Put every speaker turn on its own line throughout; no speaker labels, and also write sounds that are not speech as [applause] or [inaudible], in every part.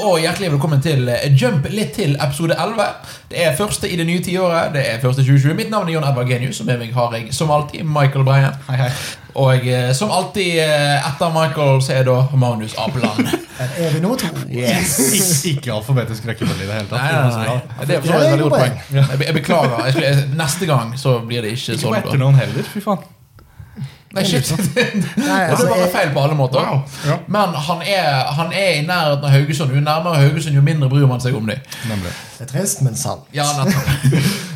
og hjertelig velkommen til eh, Jump litt til episode 11. Det er første i det nye tiåret. Det er første 2020. Mitt navn er Jon Edvard Genius, og med meg har jeg som alltid Michael Bryan.
Hei, hei.
Og eh, som alltid eh, etter Michael så er da Magnus [laughs] Apeland.
Her er vi nummer to.
Ik- Ikke alfabetisk rekkefølge i det hele tatt.
Nei, nei, nei. Det er for så vidt et veldig godt poeng. Jeg be- Jeg beklager. Jeg skulle, jeg, neste gang så blir det ikke
Ikke på
sånn. da.
etternavn heller. Fy faen.
Nei, shit. [laughs]
Nei,
Og
altså,
det var
jeg,
feil på alle måter.
Ja.
Men han er, han er i nærheten av Haugesund. Jo nærmere Haugesund, jo mindre bryr man seg om dem.
Nemlig.
det er trist, men sant.
Ja,
[laughs]
nettopp.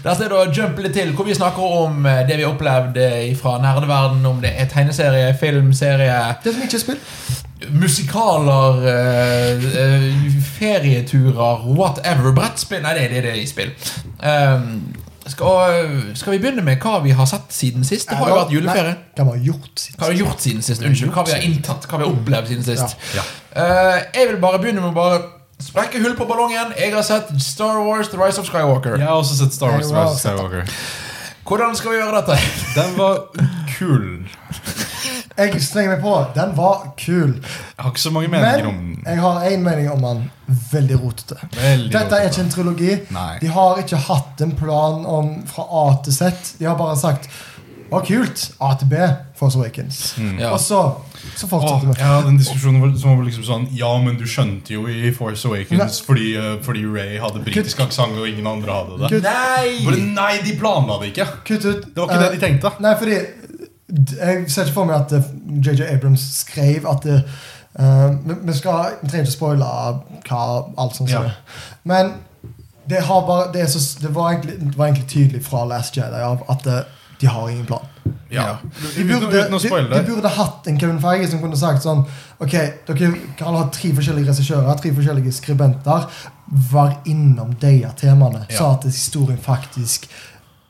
Dette er da Jump litt til, hvor vi snakker om eh, det vi opplevde fra nerdeverden. Om det er tegneserie, film, serie,
Det som ikke er spill.
musikaler, eh, eh, ferieturer, whatever. Brettspill Nei, det er det, det er i spill. Ehm, skal, skal vi begynne med hva vi har sett siden sist? Det har jo vært juleferie.
Nei, Hva man har gjort siden
Hva har vi gjort siden sist? Unnskyld, hva vi har inntatt, hva vi har opplevd siden sist.
Ja.
Eh, jeg vil bare begynne med å bare sprekke hull på ballongen. Jeg har sett Star Wars The Rise of Skywalker.
Jeg har også sett Star Wars
Nei, wow,
vs. Skywalker.
Hvordan skal vi gjøre
[laughs]
dette?
Den var kul.
Jeg slenger meg på. Den var kul.
Jeg har ikke så mange meninger om
Men
den.
jeg har én mening om den. Veldig rotete.
Veldig
Dette er
rotete.
ikke en trilogi.
Nei.
De har ikke hatt en plan om fra A til Z. De har bare sagt Å, kult! A til B, Force Awakens.
Ja.
Og så, så
Mm. Åh,
fortsetter vi.
jeg hadde en diskusjon hvor- som var liksom sånn Ja, men du skjønte jo i Force Awakens
Nei.
fordi, eh, fordi Ray hadde britisk aksent, og ingen andre hadde det.
Gud.
Bare,
Nei!
nei, de planla det ikke.
Kutt ut. Eh,
Det var ikke det de tenkte.
Nei, fordi d- Jeg ser ikke for meg at eh, JJ Abrams skrev at det, eh, vi- Vi skal vi trenger ikke spoile hva alt sånt som
Ja.
er. Men det, har bare, det, er så, s- det, var egentlig, det var egentlig tydelig fra Last Jedi av at eh, de har ingen plan.
Ja.
De
Uten,
burde,
uten å
de,
spoile
de
det.
burde hatt en Kevin Feige som kunne sagt sånn Ok, dere kan ha tre forskjellige regissører, tre forskjellige skribenter. Vær innom de her temaene,
Ja.
så at historien faktisk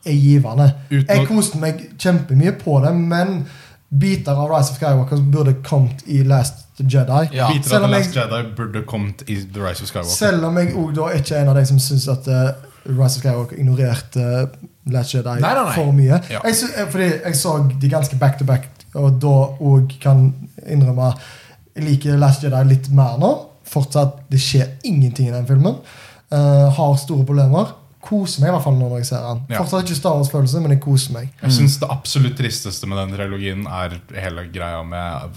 er givende.
Uten å-
Jeg koste meg kjempemye på det, men biter av Rise of Skywalker burde kommet i Last Jedi.
Ja.
Biter av
Selv
The
om
Last
jeg,
Jedi burde kommet i The Rise of Skywalker.
selv om jeg også da ikke er en av de som syns at eh, Rise of Skywalker ignorerte eh, Last
Nei,
Jedi
nei, nei.
for mye.
Ja.
Jeg sy eh, fordi jeg så de ganske back to back, og da òg kan innrømme Jeg liker Last Jedi litt mer nå. Fortsatt, Det skjer ingenting i den filmen. Eh, har store problemer. Koser meg i hvert fall nå når jeg ser den.
Ja.
Fortsatt ikke Star Wars-følelse, men jeg koser meg.
Jeg syns det absolutt tristeste med den trilogien er hele greia med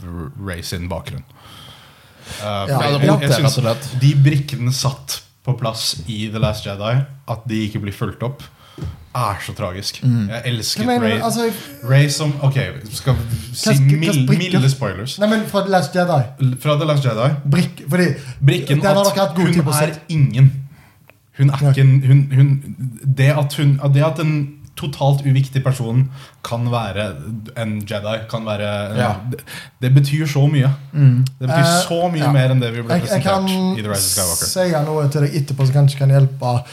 Ray sin bakgrunn. Eh, for
det
jeg-
er
jeg-
rått,
jeg
det,
synes
rett og slett.
De brikkene satt på plass i The Last Jedi, at de ikke blir fulgt opp, er så tragisk. Jeg
Hva
elsket
mener
Ray.
du? Altså, Mm. jeg-
Ray som Ok, skal vi si
Hva- hva
mild,
brikker?
milde spoilers.
nei, men fra Last Jedi.
Fra The Last Jedi
Brikk, fordi
Brikken
den har dere
at
hatt god
hun
tid på å se.
er ingen. Hun er
Nei.
ikke en hun, hun, det, at hun, det at en totalt uviktig person kan være en Jedi, kan være
Ja.
det, det betyr så mye. Det betyr
Eh,
så mye
ja.
mer enn det vi ble
Jeg, jeg kan
presentert i The Rise of Skywalker.
si noe til deg etterpå som kanskje kan hjelpe.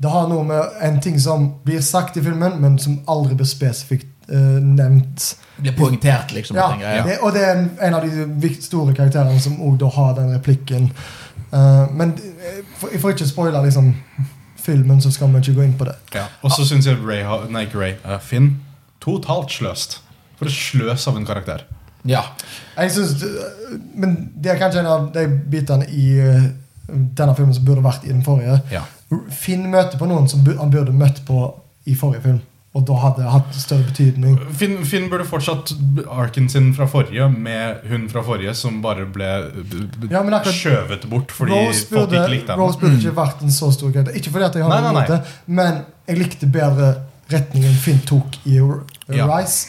Det har noe med en ting som blir sagt i filmen, men som aldri blir spesifikt eh, nevnt.
Blir poengtert, liksom.
Ja,
og ting, ja.
det, og det er en, en av de vikt- store karakterene som også da har den replikken. Eh, men eh, for, for ikke å spoile liksom, filmen, så skal vi ikke gå inn på det.
Ja. Og så syns jeg Ray, har- nei, ikke Ray, eh, Finn totalt sløst. For et sløs av en karakter.
Ja.
Jeg synes, eh, men det er kanskje en av de bitene i eh, denne filmen som burde vært i den forrige.
Ja.
Finn møter på noen som bu- han burde møtt på i forrige film. Og da hadde det hatt større betydning.
Finn, Finn burde fortsatt arken sin fra forrige med hun fra forrige som bare ble b- b-
Ja, men akkurat-
skjøvet bort fordi
Rose
folk
burde,
ikke likte henne.
Rose burde ikke vært en så stor karakter. Ikke fordi at jeg har
Nei,
noe
nei,
imot det, men jeg likte bedre retningen Finn tok i R-
Ja.
Rise.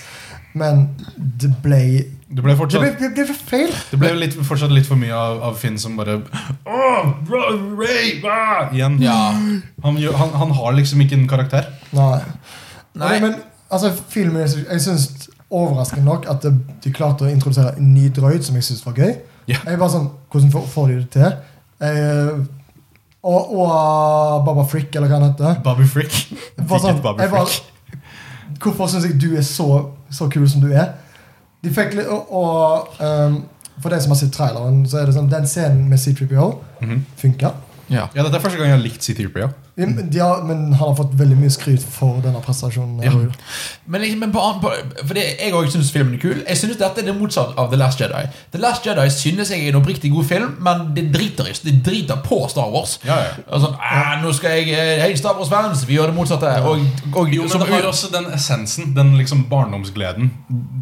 Men det ble
Det ble,
Det ble,
fortsatt,
det ble feil!
det ble litt, fortsatt litt for mye av, av Finn som bare Åh, Ra- Ray! Ah! Igjen.
Ja.
Han, gjør- han, han har liksom ikke en karakter.
Nei.
Nei.
Men altså, filmen Jeg, jeg syns overraskende nok at det, de klarte å introdusere en ny drøyd som jeg syns var gøy.
Ja.
Jeg er bare sånn Hvordan får, får de det til? Jeg, eh, og, og Baba Frick, eller hva han heter.
Bobby Frick.
Bare
Fikk
sånn,
et Bobby
jeg bare-
Frick.
Hvorfor syns jeg du er så, så kul som du er? De fikk litt, og, og ehm, For de som har sett traileren, så er det sånn den scenen med C3PO
Mhm.
funka.
ja.
Ja, Dette er første gang jeg har likt CTP. Ja.
Ja, men de har, men han har fått veldig mye skryt for denne prestasjonen.
Ja.
Eller?
Men, liksom, men på, an- på, for det, jeg òg syns filmen er kul. Jeg synes Dette er det motsatte av The Last Jedi. The Last Jedi synes jeg er en oppriktig god film, men det driter, i- det driter på Star Wars.
Ja, ja.
Og sånn, «Æ, nå skal jeg eh, Hei, Star Wars-fans, vi gjør det motsatte. Og, og,
Jo, men
som
det har
ut-
også den essensen, den liksom barndomsgleden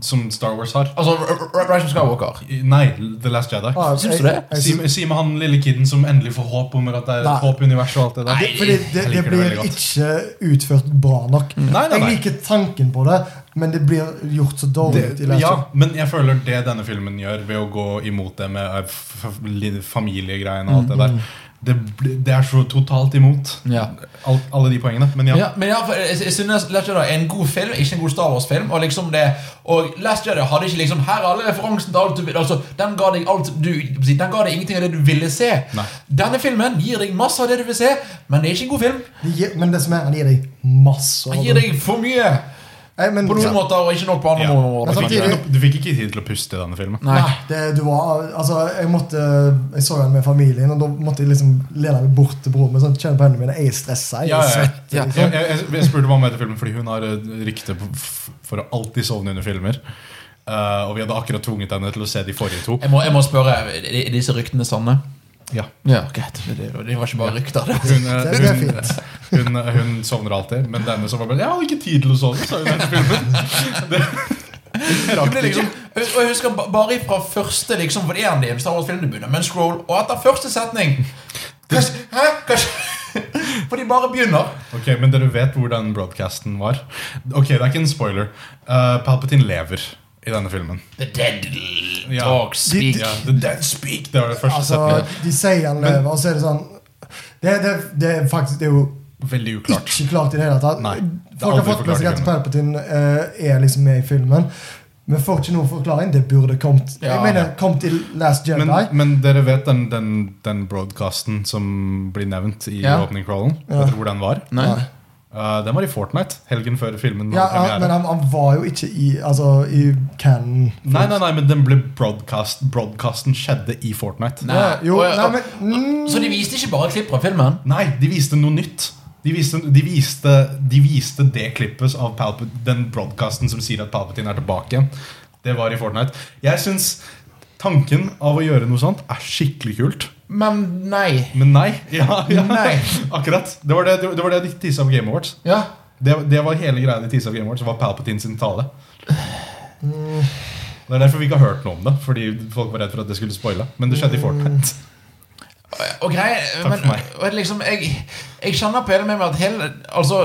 som Star Wars har.
Altså, R- R- Rise of Skywalker.
I- Nei, The Last Jedi.
Ah,
Syns du
jeg-
det?
jeg
Si,
syns-
si med han lille kiden som endelig får håp om at det er
Nei.
et håp i universet og alt det der.
Nei,
Fordi det,
jeg
det
liker det
blir
veldig godt.
ikke utført bra nok.
Nei, nei, nei.
Jeg liker tanken på det, men det blir gjort så dårlig.
Det-
i Last
ja,
Jedi.
men jeg føler det denne filmen gjør, ved å gå imot det med eh, f- f- li- familiegreiene og alt det
Mm,
der, det, bl- det er så totalt imot
Ja.
alt, alle de poengene. Men ja.
Ja, men ja, for jeg, jeg synes Last Jedi er en god film, ikke en god Star Wars-film. Og liksom det Og Last Jedi hadde ikke liksom Her er alle referansen til alt du vil Altså, Den ga deg alt du Den ga deg ingenting av det du ville se.
Nei.
Denne filmen gir deg masse av det du vil se, men det er ikke en god film.
De gir, men det som er, han gir deg masse. av
Den gir
det.
deg for mye
Nei, men,
på noen måter og ikke nok på andre
Ja.
måter.
Du, fikk
samtidig-
ikke, du fikk ikke tid til å puste i denne filmen.
Nei.
Nei, det, du var, altså, jeg, måtte, jeg så den med familien, og da måtte jeg liksom lene meg bort til broren min. Sånn, kjenne på hendene mine, jeg er stressa, jeg
Ja,
er
ja, ja.
svett.
Ja.
Jeg, jeg, jeg- jeg spurte mamma etter filmen fordi hun har eh, rykte på- f- for å alltid sovne under filmer. Eh, og vi hadde akkurat tvunget henne til å se de forrige to.
Jeg må, jeg må spørre, er er disse ryktene sanne?
Ja.
Ja, greit. Det, det var ikke bare rykter. Det.
Hun,
Det,
eh,
det er
hun,
fint.
hun, hun sovner alltid, men denne som var bare 'Jeg hadde ikke tid til å sove', sa hun etter filmen. Det, det
Det
rakk
ble
ikke.
liksom, og jeg husker ba- bare fra første liksom, For det er en del Star Wars-film du begynner med en scroll Og etter første setning kanskje, Hæ? Kanskje [laughs] For de bare begynner
Ok, Men dere vet hvor den broadcasten var? Ok, Det er ikke en spoiler. Eh, Palpatine lever i denne filmen.
The dead
Ja.
talk speak
Ja, the dead speak, Det var det første
Altså,
setningen.
de sier han lever, og så er det sånn det, det, det er faktisk det er jo
Veldig uklart.
ikke klart i det hele tatt.
Nei, det er
Folk har
aldri
fått med
forklart
seg
i
at
filmen.
Palpatine eh, er liksom med i filmen, men får ikke noen forklaring. Det burde kommet.
Ja.
Jeg mener, kommet i Last Jedi.
Men, men dere vet den, den, den broadcasten som blir nevnt i
Ja.
opening crawlen?
Ja.
Vet dere hvor den var?
Nei
Ja.
Eh, den var i Fortnite, helgen før filmen.
Ja,
hadde
ja,
premiere.
men han, han var jo ikke i Altså, i canon.
Nei, nei, nei, men den ble broadcast Broadcasten skjedde i Fortnite.
Nei.
Ja, jo,
Og- og-
nei, men mm,
Så de viste ikke bare klipp fra filmen
Nei, de viste noe nytt. De viste, de viste, de viste det klippet av Palpa- den broadcasten som sier at Palpatine er tilbake igjen. Det var i Fortnite. Jeg syns tanken av å gjøre noe sånt er skikkelig kult.
Men nei
Men nei. [laughs] Ja, ja.
Nei.
Akkurat. Det var det, det, var det de tisa på Game Awards.
Ja
Det, det var hele greia de tisa på Game Awards, var Palpatine sin tale.
Mm.
Det er derfor vi ikke har hørt noe om det, fordi folk var redd for at det skulle spoile. Men det skjedde i Fortnite.
Og greie
Takk
men,
for meg.
og liksom, jeg, jeg kjenner på hele meg med at hele, altså,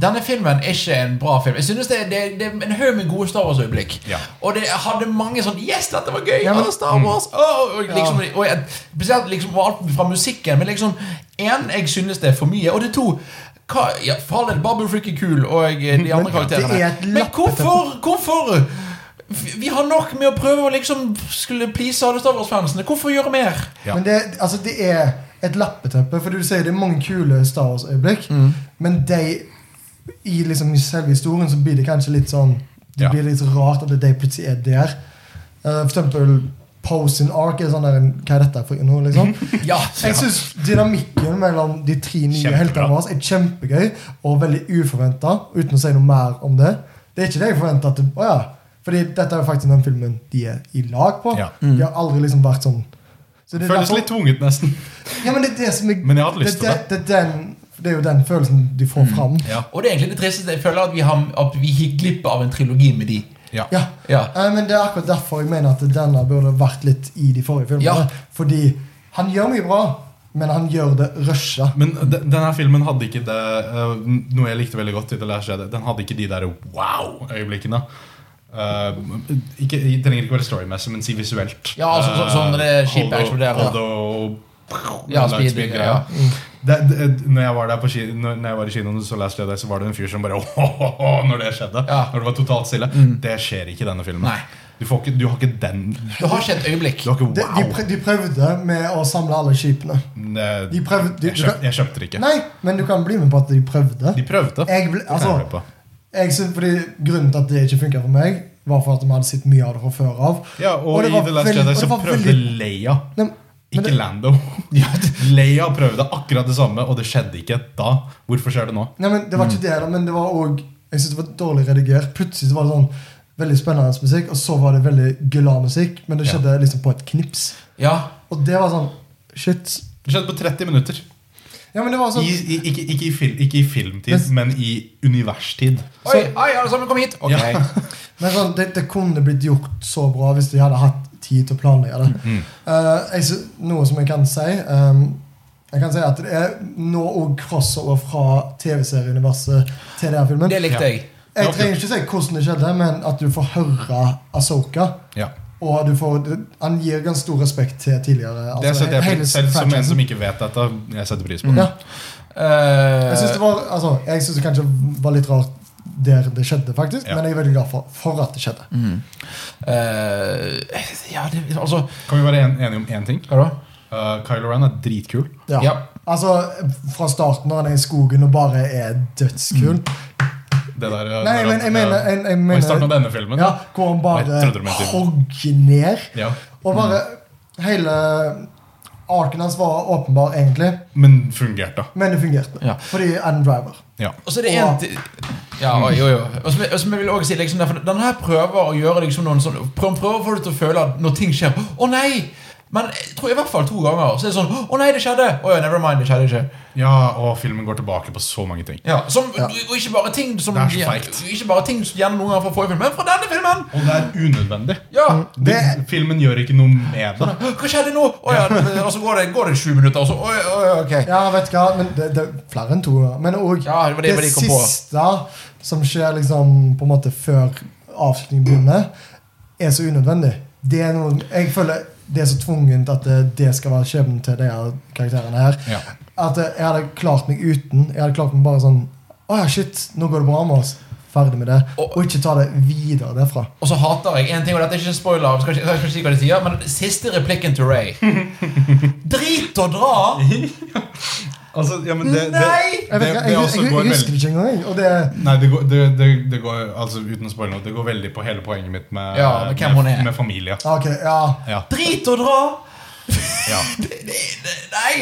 Denne filmen er ikke en bra film Jeg synes det, det, det er en høy med gode Star Wars-øyeblikk
Ja.
Og det hadde mange sånn Yes, dette var gøy!
Ja, men-
ah, Star Wars! Åh, og liksom, og jeg, spesielt liksom, og alt fra musikken Men liksom, en, jeg synes det er for mye Og det er to hva, ja, for all del, Babu Freak er kul Og eh, de andre karakterene
det er et
Men hvorfor, hvorfor Vi- Vi har nok med å prøve å liksom Skulle please alle Star Wars-fansene Hvorfor gjøre mer?
Ja.
Men det, altså, det er et lappeteppe, for du sier det er mange kule Star Wars-øyeblikk,
Mm.
men de i liksom selve historien så blir det kanskje litt sånn Det
Ja.
blir litt rart at de plutselig er der. Eh, for eksempel Pose in Ark er sånn der en- Hva er dette for noe, liksom?
[laughs]
Ja,
Jeg syns dynamikken mellom de tre nye
Kjempebra.
heltene våre er kjempegøy og veldig uforventa, uten å si noe mer om det. Det er ikke det jeg forventa. Oh, ja. Fordi dette er jo faktisk den filmen de er i lag på.
Ja.
Mm.
De har aldri liksom vært sånn Så det er
Føles
derfor-
litt tvunget, nesten.
Ja, men det er det som jeg,
Men jeg hadde lyst
det,
til Mm.
det, det, er den, det er jo den følelsen de får fram.
Ja.
Og det er egentlig det tristeste. Jeg føler at vi, har, at vi gikk glipp av en trilogi med de.
Ja.
Ja.
Ja.
Eh, Men det er akkurat derfor jeg mener at denne burde vært litt i de forrige
Ja.
filmene. Fordi han gjør mye bra, men han gjør det rusha.
Men de- denne filmen hadde ikke det eh, Noe jeg likte veldig godt i The Last Jedi. Den hadde ikke de der wow-øyeblikkene. Eh, ikke, det trenger ikke være storymessig, men si visuelt. Eh,
Ja, altså, så- sånn det skipet eksploderer.
Holdo,
Ja, speed, ja.
Det, det, når, jeg var der på, ki- når, når jeg var i kinoen og så Last Jedi, så var det en fyr som bare [laughs] «Åhåhåhå», Når det skjedde.
Ja. Mm.
Når det var totalt stille. Det skjer ikke i denne filmen.
Nei.
Du, får ikke, du har ikke den Du
Du har ikke et øyeblikk.
har ikke
De, de,
wow.
prø- de prøvde med å samle alle skipene.
Ne-
de prøvde- de-
jeg, kjøp, jeg kjøpte det ikke.
Nei, men du kan bli med på at de prøvde.
De prøvde.
Jeg
Det
ble,
kan jeg være med
altså,
på.
jeg synes, fordi Grunnen til at det ikke funka for meg, var for at vi hadde sett mye av det fra før av.
Ja, og,
det
i
var
The Last
veldig-
Jedi
og det
så
var
prøvde
veldig-
Leia
Nei, Men
Ikke
[laughs]
Lando. Leia prøvde akkurat det samme, og det skjedde ikke da. Hvorfor skjer det nå?
Nei, men
Mm.
Det var ikke det heller, men det var òg Jeg synes det var dårlig redigert. Plutselig så var det sånn veldig spennende musikk, og så var det veldig glad musikk, men det
Ja.
skjedde liksom på et knips.
Ja.
Og det var sånn Shit.
Det skjedde på 30 minutter.
Ja, men det var
I,
sånn
i, ikke, ikke, i fil, ikke i filmtid, men i universtid.
Oi, oi, alle sammen, kom hit! Ok.
Ja.
Men sånn, det, det kunne blitt gjort så bra hvis de hadde hatt tid til å planlegge det.
Mm.
Eh, jeg, sy- noe som jeg kan si ehm, Jeg kan si at det er nå òg crossover fra TV-serieuniverset til denne filmen.
[laughs] Det likte
Ja.
jeg.
Jeg trenger ikke si hvordan det skjedde, men at du får høre Asoka.
Ja.
Og du får, han gir ganske stor respekt til tidligere. altså,
Det setter jeg
hele
pris Selv som en
franchisen.
som ikke vet dette, jeg setter pris på
Ja.
det.
Eh,
Jeg syns det, var- altså, jeg synes det kanskje var litt rart der det skjedde, faktisk,
Ja.
men jeg er veldig glad for, for at det skjedde.
mm. Eh, ja, det, altså
Kan vi være en, enige om én ting?
Hva da?
Uh, Kylo Ren er dritkul.
Ja.
Ja.
Altså, Fra starten når han er i skogen og bare er dødskul
Mm. Det der, uh,
Nei,
når
men jeg
han,
mener,
uh,
jeg, jeg
var I starten
mener
av denne filmen.
ja, Hvor han
Jeg trodde du
bare
mente i-
hogger ned.
Ja. Mm.
Og bare Hele arken hans var åpenbar, egentlig,
Men fungerte.
men det fungerte.
Ja.
Fordi Adam Driver.
Ja.
Og så er det en ti- ja, jo, jo. Og som, jeg- og som jeg vil også si liksom, derfor, Den her prøver å gjøre liksom noen sånn prøver, prøver å få deg til å føle at når ting skjer Å nei! Men jeg tror i hvert fall to ganger Så er det sånn Å nei, det skjedde! Å ja, never mind, det skjedde ikke.
ja, og filmen går tilbake på så mange ting.
Ja, som,
Ja.
Og ikke bare ting som
Det er så feigt.
Ikke bare ting som gjerne noen ganger fra forrige film, men fra denne filmen!
Og det er unødvendig.
Ja!
Det, filmen gjør ikke noe med det.
Hva skjedde nå? Å ja, og så går det, går det sju minutter, og så Å ja, å, ja, ok.
Ja, vet du hva, men det, det er flere enn to. ganger. Men òg
Ja, det var det- det var det jeg kom på.
siste som skjer liksom på en måte før avslutningen begynner, er så unødvendig. Det er noe, jeg føler det er så tvungent at det, det skal være skjebnen til de her karakterene her.
Ja.
At eh, jeg hadde klart meg uten. Jeg hadde klart meg bare sånn Å ja, shit, nå går det bra med oss. Ferdig med det.
Og-
Og ikke ta det videre derfra.
Og så hater jeg en ting, og dette er ikke en spoiler, jeg skal ikke, jeg skal ikke si hva de sier, men siste replikken til Ray Drit å dra!
Altså, ja, men det, det,
Nei!
Jeg, vet,
Det-
ikke,
det
jeg,
også
jeg,
går
jeg, husker det ikke engang. jeg. Og det,
Nei, det går, det, det, det går altså uten å spoile noe, det går veldig på hele poenget mitt med,
Ja, med hvem hun er.
med familie.
ja, ok, ja.
Ja,
Drit å dra!
ja.
Det- det- det- Nei!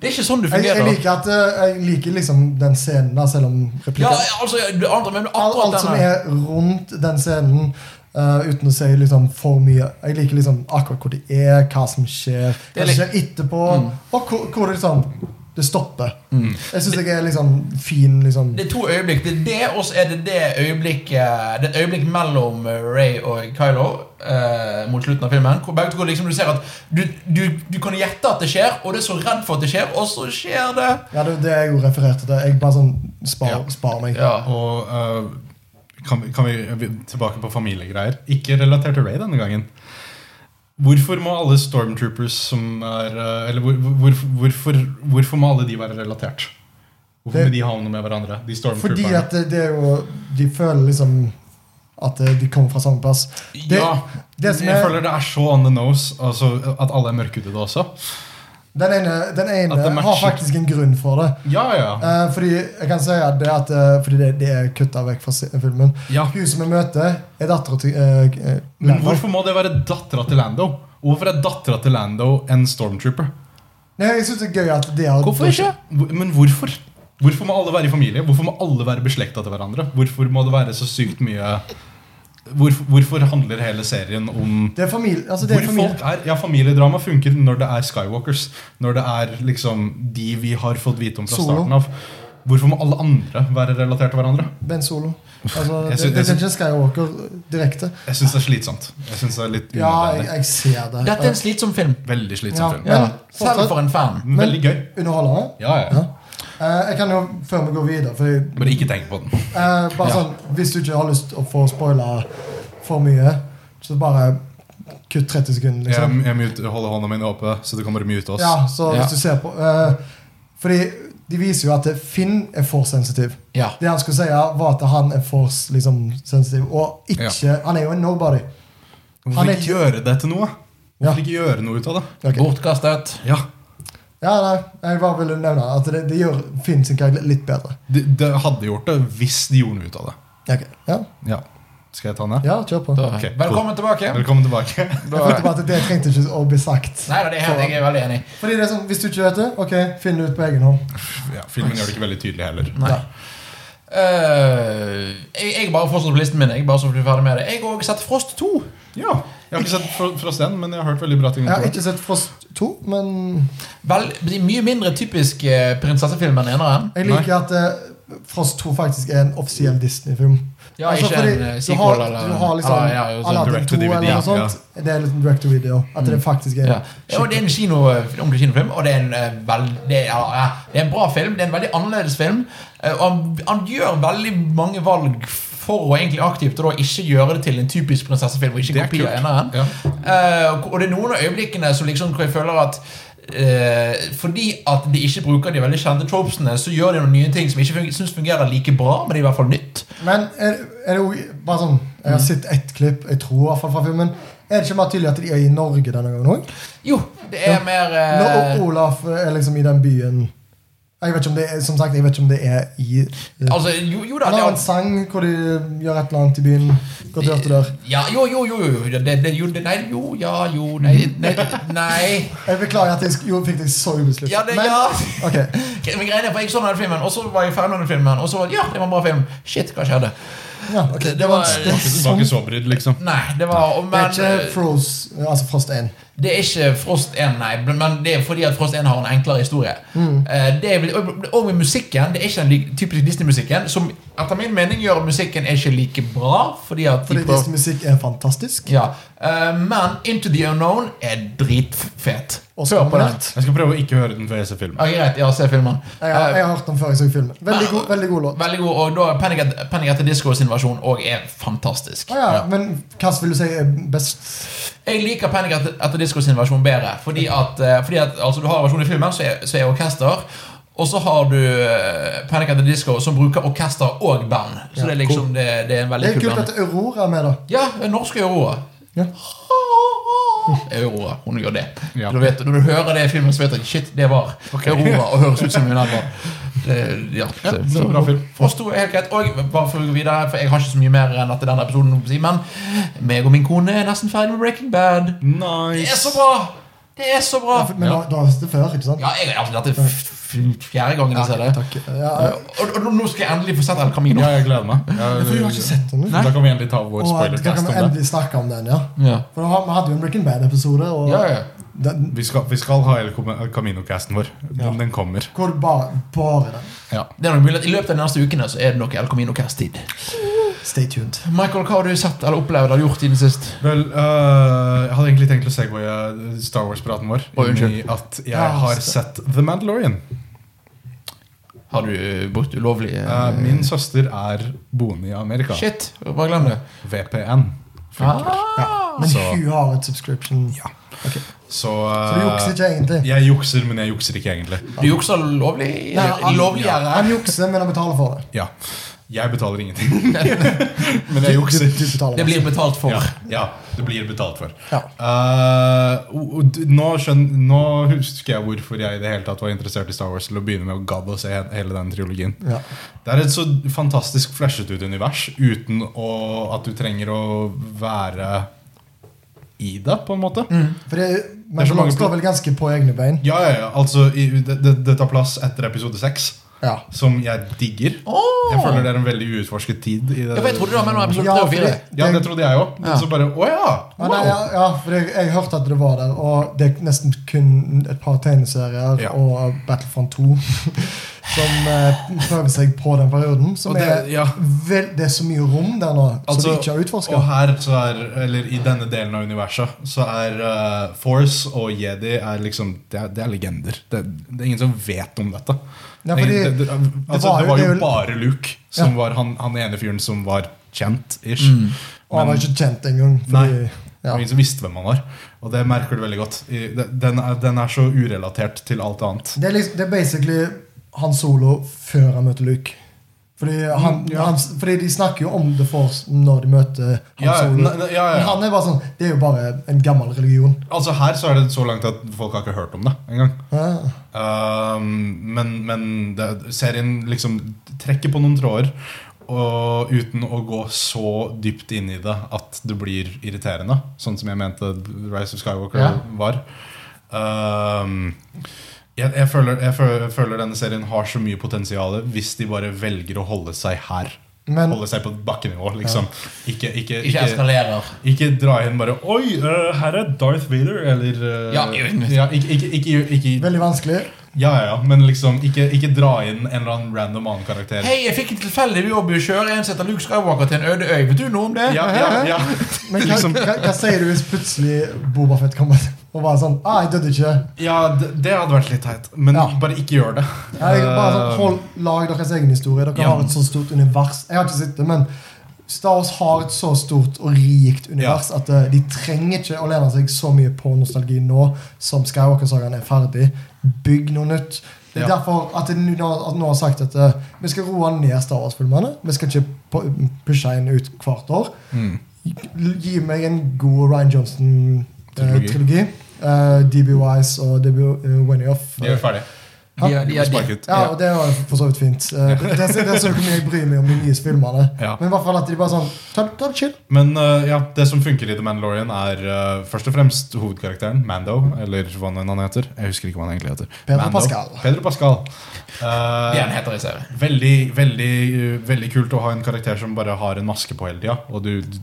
Det er ikke sånn du
Jeg, jeg,
fungerer.
liker at, eh, jeg liker liksom den scenen, da, selv om
Ja,
replikken
altså, du andre, men
Alt,
akkurat
alt som
denne
er rundt den scenen, eh, uten å si liksom, for mye. Jeg liker liksom akkurat hvor de er, hva som skjer,
Det er Mm.
hva som skjer etterpå, og hvor, hvor det liksom det stopper. Jeg syns jeg er liksom fin liksom
Det er to øyeblikk. Det er det, og så er det det øyeblikket Det er et øyeblikk mellom eh, Ray og Kylo eh, mot slutten av filmen. Hvor begge to liksom du ser at du, du, du kan gjette at det skjer, og du er så redd for at det skjer, og så skjer det.
Ja, det er det jeg jo refererte til. Jeg bare sånn spar,
Ja.
spar meg.
Ja.
Og eh, kan, vi- kan vi er vi tilbake på familiegreier? Ikke relatert til Ray denne gangen. Hvorfor må alle stormtroopers som er eh, Eller hvor, hvor, hvorfor, hvorfor må alle de være relatert? Hvorfor
Det-
må de havne med hverandre? De
Fordi
stormtrooperne.
at det, det er jo De føler liksom at eh, de kommer fra samme plass. Det,
ja,
det som
jeg
er,
føler det er så on the nose altså, at alle er mørkhudede også.
den ene, den
At det
ene har
matcher.
faktisk en grunn for det.
Ja, ja.
Eh, fordi jeg kan si at det, at, eh, fordi det, det er kutta vekk fra se- filmen.
ja.
Hun som jeg møter, er dattera til eh, eh,
Men
Lando.
hvorfor må det være dattera til Lando? Og Hvorfor er dattera til Lando en stormtrooper?
Nei, jeg synes det er gøy at det har
Hvorfor ikke?
Hvor- Men hvorfor? Hvorfor må alle være i familie? Hvorfor må alle være beslekta til hverandre? Hvorfor må det være så sykt mye Hvorfor, hvorfor handler hele serien om
Det er familie. Altså, det
hvor
er
folk
familie.
er, ja, Familiedrama funker når det er Skywalkers. Når det er liksom de vi har fått vite om fra
Solo.
starten av. Hvorfor må alle andre være relatert til hverandre?
Ben Solo. Altså,
Jeg synes-
det, det
jeg
er ikke Skywalker direkte.
Jeg syns det er slitsomt. Jeg synes det er litt
Ja, jeg,
unødvendig.
jeg ser
Eh,
det.
Dette er en slitsom film.
Veldig
Ja.
slitsom film.
Ja.
fortsatt-
Selv for en fan.
Men Veldig gøy.
Underholdende.
Ja, ja.
Ja. Eh, jeg kan jo, før vi går videre for jeg,
Bare ikke tenk på den.
eh, bare
Ja.
sånn, Hvis du ikke har lyst til å få spoila for mye, så bare kutt 30 sekunder. liksom.
Jeg, jeg mute, holder hånda mi oppe, så du kan bare mute oss.
Ja, så
Ja.
hvis du ser på eh, Fordi de viser jo at Finn er force-sensitiv.
Ja.
Det han skulle si, var at han er force-sensitiv. og ikke Han er jo en nobody. Han
Hvorfor
er
ikke
ikke-
gjøre det til noe?
Ja.
Hvorfor ikke gjøre noe ut av det?
Ok.
Bortkastet.
Ja,
Ja, nei, Jeg bare ville nevne at det, det gjør Finn sin karakter litt bedre.
det, det hadde gjort det hvis de gjorde noe ut av det.
Ok, ja.
Ja. Skal jeg ta den her?
Ja, kjør på.
Da,
Ok, cool.
velkommen tilbake.
Velkommen
[laughs]
tilbake.
Da,
Jeg følte bare at Det trengte ikke å bli sagt.
nei da, det er helt, jeg er veldig enig.
Fordi det er sånn, Hvis du ikke vet det, ok, finn det ut på egen hånd.
[laughs] Ja, filmen gjør det ikke veldig tydelig heller.
Nei. Eh, jeg, jeg bare fortsetter på listen min. Jeg bare så blir ferdig med det Jeg har også sett Frost 2.
Ja, Jeg har ikke sett Fro- Frost igjen, men jeg har hørt veldig bra ting. om
Jeg har
det.
ikke sett Frost 2, men
Vel, de mye mindre typisk eh, prinsessefilm enn eneren.
jeg liker at eh, Frost 2 faktisk er en offisiell Disney-film.
Ja,
Altså,
ikke
fordi
en eh,
du
sequel
har,
eller
du har liksom
eller, ja, jo, sånn.
Aladdin
direct
2
to DVD,
eller noe
ja.
sånt. Det er liksom direct to video. At det faktisk er
Mm. Ja. Ja, og det er en kino, ordentlig kinofilm, og det er en, eh, vel, det er, ja, ja, det er en bra film. Det er en veldig annerledes film. eh, Og han, han gjør veldig mange valg for å egentlig aktivt og da ikke gjøre det til en typisk prinsessefilm. Og ikke
Det er
kopi av
kult.
eneren
Ja.
Eh, og- Og det er noen av øyeblikkene som liksom hvor jeg føler at eh, fordi at de ikke bruker de veldig kjente tropesene, så gjør de noen nye ting som jeg ikke fun- synes fungerer like bra, men det er i hvert fall nytt.
Men er, er det jo bare sånn
Mm.
Jeg har sett ett klipp, jeg tror i hvert fall fra filmen. Er det ikke mer tydelig at de er i Norge denne gangen òg?
Jo, det er
Ja.
mer
Når
eh,
Olaf er liksom i den byen Jeg vet ikke om det er, Som sagt, jeg vet ikke om det er i eh,
Altså, jo, jo da,
Han
det
har
er
en sang hvor de gjør et eller annet i byen. Går dør til dør.
Ja, jo, jo, jo, jo, jo, det, det, jo det, Nei, jo, ja, jo, nei Nei, nei.
Jeg beklager at jeg sk- jo, fikk deg så ubeslutt.
Ja, det,
Men-
ja.
Ok,
Men greiene er, for jeg så denne filmen, og så var jeg ferdig med den filmen, og så var det, ja, det var en bra film. Shit, hva skjedde?
ja, ok.
Det- det
Det
var-
var, det
Det
var,
var ikke- det var
sånn.
ikke så brydd, liksom.
Nei, det var og-
Det
Men
er
eh,
ikke Froze, altså Frost 1.
det er ikke Frost 1, nei, men det er fordi at Frost 1 har en enklere historie.
Mm.
Eh, Det er, vel- og- og med musikken, det er ikke den lik- typiske Disney-musikken, som etter min mening gjør at musikken er ikke like bra, fordi at de
Fordi
prøver-
Disney-musikk er fantastisk.
Ja, eh, men Into the Unknown er dritfet.
Og
Hør på den.
spennende.
Jeg skal prøve å ikke høre den før jeg ser filmen.
Ja, greit, ja, se filmen.
Jeg har,
Eh,
jeg har hørt den før jeg så filmen. Veldig god, veldig god låt.
Veldig god, og da er Panic at, Panic at the Disco sin versjon òg er fantastisk.
Ah, ja, men hva vil du si er best?
Jeg liker Panic at, at the Disco sin versjon bedre. Fordi at, eh, fordi at altså, Du har versjonen i filmen, så er, så er orkester. Og så har du eh, Panic at the Disco, som bruker orkester og band. Så
Ja,
det er liksom det, det er en
Det
veldig
er
kul
kult
band.
at Aurora er med, da.
Ja, norske Aurora. [laughs]
Ja.
Aurora. Hun gjør det.
Ja.
Du vet, når du hører det i filmen, så vet du at shit, det var Aurora. Og høres ut som
[laughs]
hun er var. Det- Ja,
Ja,
det-
det var en
sånn.
bra film.
For oss to er helt greit. Og bare for å gå videre, for jeg har ikke så mye mer enn at denne episoden holdt på å si, men meg og min kone er nesten ferdig med Breaking Bad. Det er så
Nice!
bra! Det er så bra!
Ja, for- Men
Ja.
da- da har jeg sett det før, ikke sant?
Ja, jeg, altså, dette er f- f- fjerde gangen jeg ser det.
Takk. Ja, jeg-
Og, og nå skal jeg endelig få sett El Camino.
Ja, jeg gleder meg. Jeg-
for du har ikke sett den?
Da kan vi endelig ta vår
Og da kan
spoilercast
vi
om det.
endelig snakke om den, ja.
Ja.
For da har- Vi hadde jo en Breaking Bad-episode. og
Ja, ja.
Den,
Vi skal, vi skal ha hele Kom- Camino-casten vår.
Ja.
Den, den kommer.
hvor det bare, bare den.
Ja.
Det er nok mulig at I løpet av de neste ukene så er det nok El Camino Cast-tid.
Stay tuned.
Michael, hva har du sett eller opplevd eller gjort siden sist?
Vel, øh, jeg hadde egentlig tenkt å segwaye Star Wars-praten vår
Oi,
inn i
unnskyld.
at jeg
Ja,
har
så-
sett The Mandalorian.
Har du eh, brukt ulovlig eh,
Eh, min søster er boende i Amerika.
Shit, bare glem det.
VPN.
Ah.
Men
Så-
hun har et subscription.
Ja. Så,
Så du jukser
øh,
ikke egentlig.
jeg jukser, men jeg jukser ikke egentlig.
Du jukser lovlig?
Nei, han-
Lovliggjøre?
Han jukser, men han betaler for det.
Ja. Jeg betaler ingenting.
[laughs]
men jeg jukser.
Du, du betaler
Det
masse.
blir betalt for.
Ja, ja, det blir betalt for.
Ja.
Eh, og- og d- nå, skjøn, nå husker jeg hvorfor jeg i det hele tatt var interessert i Star Wars. Til å begynne med å gadd å se he- hele den trilogien.
Ja.
Det er et så flashet flashet ut univers uten å, at du trenger å være i det, på en måte.
Mm.
For det,
Det er
men
så mange
står vel ganske på egne bein.
Ja, ja, ja. Altså, i, det, det, det tar plass etter episode seks,
Ja.
som jeg digger.
Åh!
Jeg føler det er en veldig uutforsket tid. I det,
Ja, for jeg trodde det var mellom episode
Ja,
3 og
for
4.
det-
Ja, det trodde jeg òg. Men
Ja.
så bare Å ja!
Ja, nei, ja,
Wow!
ja, for jeg, jeg hørte at det var der, og det er nesten kun et par tegneserier
Ja.
og Battlefront 2 [laughs] som eh, prøver seg på den perioden. Som
Og det-
er,
ja. Altså,
vel, det er så mye rom der nå som vi ikke har utforska.
Og her, så er, eller i denne delen av universet, så er eh, Force og Jedi er liksom Det er, det er legender. Det, det er ingen som vet om dette.
Ja,
Det er ingen-
fordi
det, det, altså,
var
det
jo-
var
det
jo
er jo-
bare Luke som
Ja.
var han, han ene fyren som var kjent, ish.
Og han var ikke kjent engang. fordi-
Nei. Det
Ja.
var ingen som visste hvem han var. Og det merker du veldig godt. I- det- Den er, den er så urelatert til alt annet.
Det, er liksom, det er basically han solo før han møter Luke. Fordi, han,
Mm, ja.
han, fordi de snakker jo om The Force når de møter han
Ja,
solo.
ne- ne- ja, ja,
Men
ja.
han er bare sånn Det er jo bare en gammel religion.
Altså Her så er det så langt at folk har ikke hørt om det engang.
Ja.
Ehm, Um, men men det, serien liksom trekker på noen tråder. og uten å gå så dypt inn i det at det blir irriterende. Sånn som jeg mente Rise of Skywalker
Ja.
var. Ehm, jeg, jeg, føler, jeg, føler, jeg føler denne serien har så mye potensial hvis de bare velger å holde seg her.
Men-
holde seg på bakkenivå, liksom. Ikke,
Ikke
ikke, ikke,
eskalerer.
ikke dra inn bare Oi, eh, her er Darth Vader! Eller eh,
Ja, jo.
ja, ikke, ikke, ikke, ikke,
Veldig vanskelig.
ja, ja, ja, men liksom ikke, ikke dra inn en eller annen random annen karakter.
Hei, jeg fikk en tilfeldig jobb i å kjøre en som heter Luke Skywalker til en øde øy. Vet du noe om det?
Ja, ja, ja.
Men hva,
Liksom-
hva, hva sier du hvis plutselig Boba Fett kommer og bare sånn ah, 'Jeg døde ikke'.
ja det, det hadde vært litt teit. Men
Ja.
bare ikke gjør det. Eh,
Ja, Jeg, bare sånn, hold, lag deres egen historie. Dere
Um, Ja.
har et så stort univers. Jeg har ikke sett det, men Star Wars har et så stort og rikt univers at eh, de trenger ikke å lene seg så mye på nostalgi nå som Skywalker-sagaen er ferdig. Bygg noe nytt. Det er
Ja.
derfor at jeg nå at nå har sagt at eh, vi skal roe ned Star Wars-filmene. Vi skal ikke pu- pushe en ut hvert år.
mm,
Gi- Gi meg en god Ryan eh,
Trilogi.
Johnson-trilogi. DB Eh, Wise og eh, DB Wenioff.
De er ferdig.
De, er- de,
De
er-
er
de.
sparket.
Ja, og det var for så vidt fint. Eh, Det, det, det er så mye jeg bryr meg om de nye filmene.
Ja.
Men i hvert fall at de bare sånn Ta ta det chill.
Men eh, ja, det som funker i The Mandalorian, er eh, først og fremst hovedkarakteren, Mando. Eller hva nå enn han heter. Jeg husker ikke hva han egentlig heter.
Pedro
Mando.
Pascal.
Pedro Pascal. Eh,
Det er en heter i serien.
veldig, veldig, eh, veldig kult å ha en karakter som bare har en maske på hele tida. Og du, du,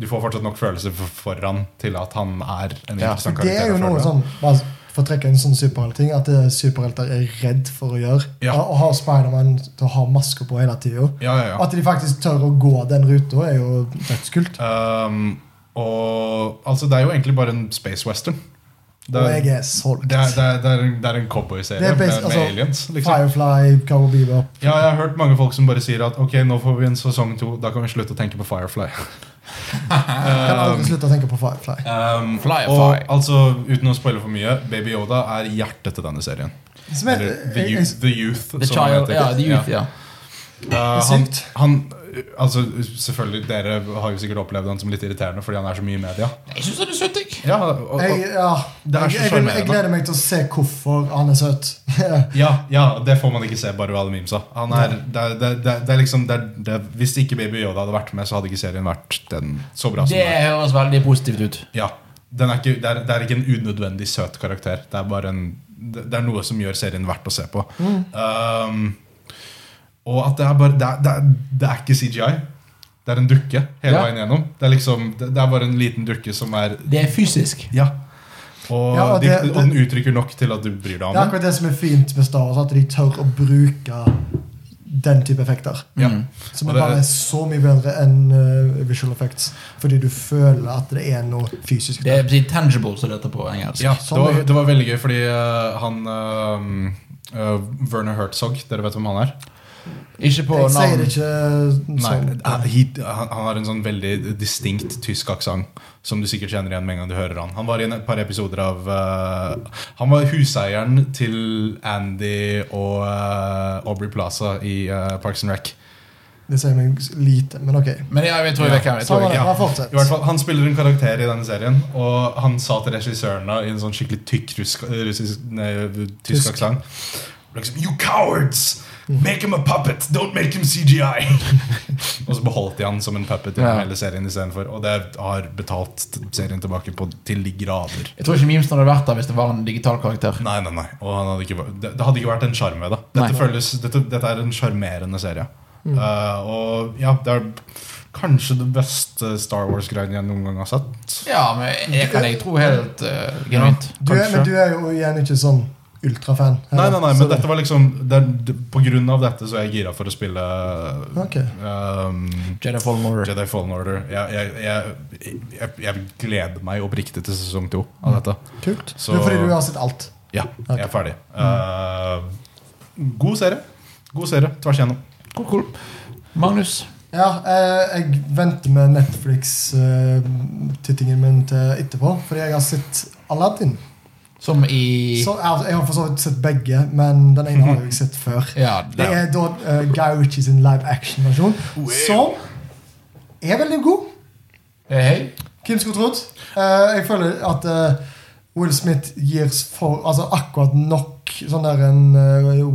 du får fortsatt nok følelse for, for han til at han er en
Ja,
interessant
det
karakter. å
er jo
følge.
noe sånn bare For å trekke en sånn superheltting at eh, superhelter er redd for å gjøre.
Ja.
Og har Spiderman til å ha masker på hele tida.
ja, ja, ja.
At de faktisk tør å gå den ruta, er jo dødskult.
Um, og altså, det er jo egentlig bare en space western. Det
Og
er,
jeg er solgt.
det er, det er, det er, en- det er en cowboyserie
Det er
med,
best-
med
altså,
aliens. Liksom.
Firefly, Cowboy Bebop.
Ja, jeg har hørt mange folk som bare sier at ok, nå får vi en sesong to, da kan vi slutte å tenke på Firefly.
Kan aldri slutte å tenke på Firefly.
Um,
Firefly.
og altså, uten å spoile for mye, Baby Yoda er hjertet til denne serien.
Som er,
Eller The
jeg- jeg-
Youth. The youth
The
som han
Child,
heter.
ja, The Youth, ja.
Uh,
Det er
han,
sykt.
han Altså, selvfølgelig, dere har jo sikkert opplevd han som litt irriterende fordi han er så mye i media.
Jeg syns han er søt, jeg.
Ja, og, og,
jeg, ja,
Det er
jeg,
så
jeg, vil- jeg
sjarmerende.
gleder meg til å se hvorfor han er søt. [laughs]
Ja, ja, det får man ikke se bare ved alle memesa. Han er, det, er- det, er- det, er- det er liksom det, er- det, er- Hvis ikke Baby Yoda hadde vært med, så hadde ikke serien vært den så bra som
Det
den er.
høres veldig positivt ut.
Ja, den er ikke, det, er, det er ikke en unødvendig søt karakter. Det er bare en Det det er noe som gjør serien verdt å se på.
Mm.
Um, og at det er bare det er, det, er, det er ikke CGI. Det er en dukke hele
Ja.
veien gjennom. Det er liksom Det det er bare en liten dukke som er
Det er fysisk.
Ja. Og,
Ja, og
de,
det- det-
og den uttrykker nok til at du bryr deg om
Det er
den.
akkurat det som er fint med Star Wars, at de tør å bruke den type effekter.
Ja.
Som
Og
er
det-
bare så mye bedre enn eh, visual effects. Fordi du føler at det er noe fysisk.
Det er si, tangible, som det heter på engelsk.
Ja, det
Sånn
var,
er-
det var veldig gøy, fordi eh, han eh, eh, Werner Herzog, dere vet hvem han er?
Ikke på
jeg sier
navn.
det ikke
Nei,
sånn.
eh, he, han, han har en sånn veldig distinkt tysk aksent, som du sikkert kjenner igjen med en gang du hører han. Han var i en, et par episoder av eh, Han var huseieren til Andy og eh, Aubrey Plaza i eh, Parks and Rec.
Det sier meg lite, men ok.
Men ja, jeg tror jeg vet hvem det er. Jeg tror
Samme
jeg vet.
det, bare
I hvert
fortsett.
fall, Han spiller en karakter i denne serien, og han sa til regissørene i en sånn skikkelig tykk rusk, russisk, nei, tysk
Tysk.
aksent liksom, You cowards! Make him a puppet! Don't make him CGI! [laughs] og så beholdt de han som en puppet gjennom
Ja.
hele serien istedenfor. Og det har betalt t- serien tilbake på til de grader.
Jeg tror ikke memesen hadde vært der hvis det var en digital karakter.
Nei, nei, nei. Og han hadde ikke, vært- det, det hadde ikke vært en sjarm ved det.
Nei.
Dette, føles, dette, dette er en sjarmerende serie.
Mm.
Eh, og ja, det er kanskje det beste Star Wars-greien jeg noen gang har sett.
Ja, men jeg kan jeg tro helt eh, genuint.
Du er, men du er jo igjen ikke sånn ultrafan.
Nei, nei, nei,
Så
men
det-
dette var liksom det, er- det- På grunn av dette så er jeg gira for å spille
Ok.
ehm,
Jedi Fallen Order.
Jedi Fallen Order. Jeg, jeg, jeg, jeg, jeg gleder meg oppriktig til sesong to
Mm.
av dette.
Kult.
Så-
Det er fordi du har sett alt.
Ja, jeg er ferdig.
Mm.
Eh, god serie. God serie tvers igjennom.
Cool, cool. Magnus.
Ja, eh, jeg venter med Netflix-tittingen min til etterpå, fordi jeg har sett Aladdin.
Som i
Så, altså, jeg har for så vidt sett begge, men den ene har jeg jo sett før.
Ja,
Det er da eh, Guy Ritchie sin live action-versjon, som er veldig god.
Eh, Hei.
Hvem skulle trodd? Eh, jeg føler at eh, Will Smith gir for, eh, altså akkurat nok sånn der en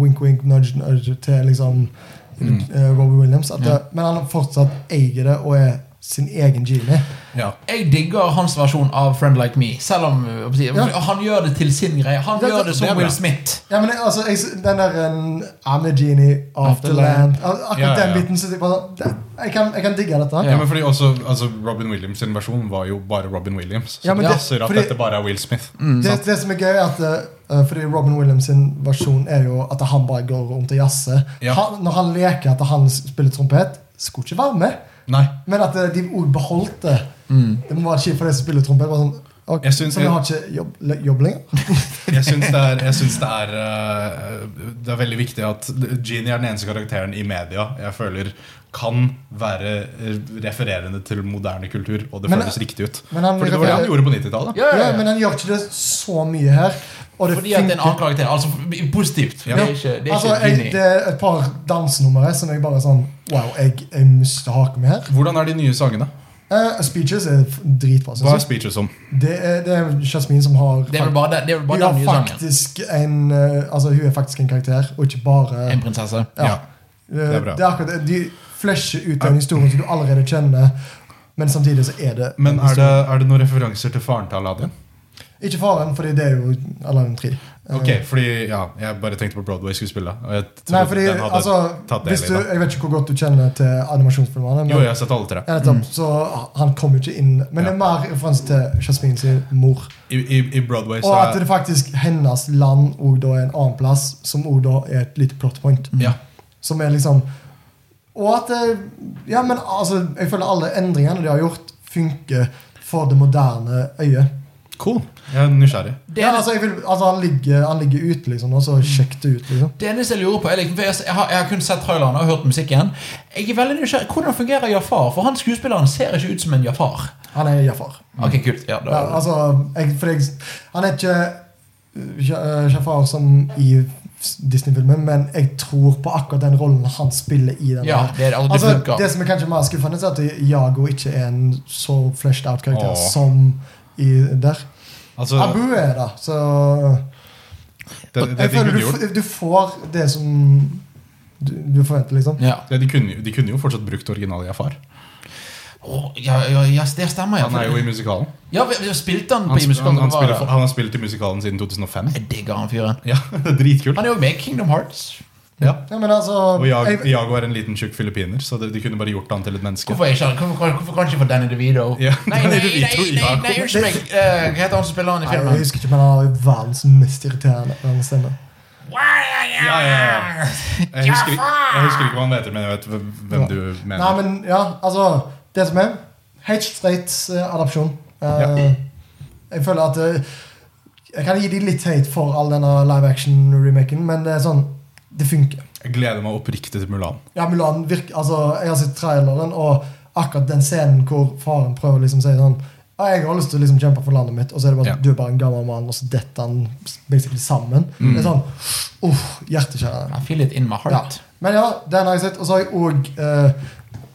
wink-wink, nudge-nudge til liksom
Mm.
eh, Robbie Williams. At det, Men han fortsatt eier det og er sin egen genie.
Ja.
Jeg digger hans versjon av Friend Like Me. Selv om øh, hva skal jeg si,
Ja.
Han gjør det til sin greie. Han
Det-
gjør det
det er
som
bra.
Will Smith.
Ja, men jeg, altså, jeg, s- Den der en, I'm a genie of the land Al- Akkurat
Ja, ja, ja.
den biten. Så jeg, bare, det, jeg, kan, jeg kan digge dette.
Ja, men fordi også, altså Robin Williams' sin versjon var jo bare Robin Williams. Så
Ja, men
det
det-
passer at
fordi-
dette bare er Will Smith.
Det, det som er gøy, er at eh, fordi Robin Williams sin versjon er jo at han bare går rundt og jazzer.
Ja.
Han- Når han leker at han spiller trompet, skulle ikke være med.
Nei,
Men at eh, de også beholdt det. Det må være kjipt for de som spiller trompet. Bare sånn, ok,
Mm. Jeg syns-
så vi har ikke jobb, le- jobb lenger?
jeg syns det er, jeg syns det, er eh, det er veldig viktig at Genie er den eneste karakteren i media jeg føler kan være eh, refererende til moderne kultur, og det
Men-
føles riktig ut.
men han-
Fordi det var det han gjorde på 90-tallet.
Ja, ja,
Ja,
ja.
men han gjør ikke det så mye her. Og det
Fordi at det er en
funker.
annen karakter. Altså f- positivt.
Ja.
Det er ikke, det er
Altså,
ikke
jeg,
Ginny.
det er et par dansnummer her som jeg bare sånn Wow, jeg, jeg mister haken min her.
Hvordan er de nye sangene?
Eh, speeches er f-
Hva
dritbra.
er
Synes jeg.
speeches om?
Det er, det er Jasmin som har
Det er vel bare, det er vel
Hun
bare
har
den nye sangen.
faktisk en eh, Altså, hun er faktisk en karakter, og ikke bare
En prinsesse.
Ja.
Ja.
Eh,
er bra.
det er akkurat det. De flasher ut den historien som du allerede kjenner, men samtidig så er det
Men er det, er det noen referanser til faren til Aladdin?
Ikke faren, fordi det er jo Aladdin 3. Eh,
Ok, fordi ja, Jeg bare tenkte på Broadway-skuespillet. og jeg
Nei,
trodde
fordi
den hadde
altså,
tatt del
hvis
i
du,
det.
Jeg vet ikke hvor godt du kjenner til animasjonsfilmene. Men,
Jo, jeg har sett alle tre.
Ja, nettopp, Så han kom jo ikke inn. Men
Ja.
det er mer referanse til Jasmin sin mor.
I, i, i Broadway så
Og at
er
det faktisk hennes land og da er en annen plass, som også da er et lite plot
Mm.
point.
ja.
Som er liksom Og at eh, Ja, men altså, jeg føler alle endringene de har gjort, funker for det moderne øyet.
Cool. Jeg er nysgjerrig.
Det
Ja,
er
altså, jeg vil, altså han, ligger, han ligger ute, liksom, og så sjekk det ut, liksom.
Det eneste jeg lurer på er liksom, for jeg, jeg, har, jeg har kun sett traileren og hørt musikken. Jeg er veldig nysgjerrig Hvordan fungerer Jafar? For han skuespilleren ser ikke ut som en Jafar.
Han er Jafar.
Ok, kult ja, da,
Ja, altså, jeg, for jeg, han er ikke eh, Ja- eh, Jafar som i Disney-filmen, men jeg tror på akkurat den rollen han spiller i den.
ja,
her.
det, er- altså, det
Altså,
funker.
det som er kanskje mer skuffende, er at Jago ikke er en så fleshed out karakter
Åh.
som i der.
Altså,
Abu er det, så
det, det,
Jeg
de
føler
kunne
du,
gjort,
f- du får det som du, du forventer, liksom.
ja.
det, de, kunne, jo- de kunne jo fortsatt brukt original Jafar.
Å, ja, ja, ja, det stemmer. Ja,
Han er jo
for,
i musikalen.
ja vi, vi spilte han på
Han,
i
han,
musikalen. hva
han,
var
spiller,
det?
for- han har spilt i musikalen siden 2005.
Jeg digger han fyren.
Ja, [laughs] det er Dritkult.
Han er jo med i Kingdom Hearts.
Ja.
Ja, men altså
Og
jeg,
Jag- Iago er en liten tjukk filippiner, så det, de kunne bare gjort han til et menneske.
Hvorfor, er ikke, han- hvorfor, hvorfor kan ikke få Danny DeVito?
Ja,
nei, nei,
Danny
nei,
DeVito,
nei, nei,
Iago.
nei, unnskyld meg. Eh, Hva heter han som spiller han i
Nei, jeg
filmen?
husker ikke, men han har jo verdens mest irriterende stemme.
Ja, ja, ja. Jeg husker, ikke- jeg husker ikke hva han heter, men jeg vet hvem hvem du mener.
Nei, men ja, altså Det som er Helt straight eh, adopsjon. Eh,
Ja.
Jeg føler at eh, Jeg kan gi de litt hate for all denne live action-remaken, men det er sånn Det funker.
Jeg gleder meg oppriktig til Mulan.
Ja, Mulan virker Altså, jeg har sett traileren, og akkurat den scenen hvor faren prøver å liksom si sånn «Ja, jeg har lyst til å liksom kjempe for landet mitt, og så er det bare
Ja.
sånn, du er bare en gammel mann, og så detter han basically sammen.
Mm.
Det er sånn uff, Hjerteskjærende.
I feel it in my
Ja.
heart.
Men ja, den har jeg sett. Og så har jeg òg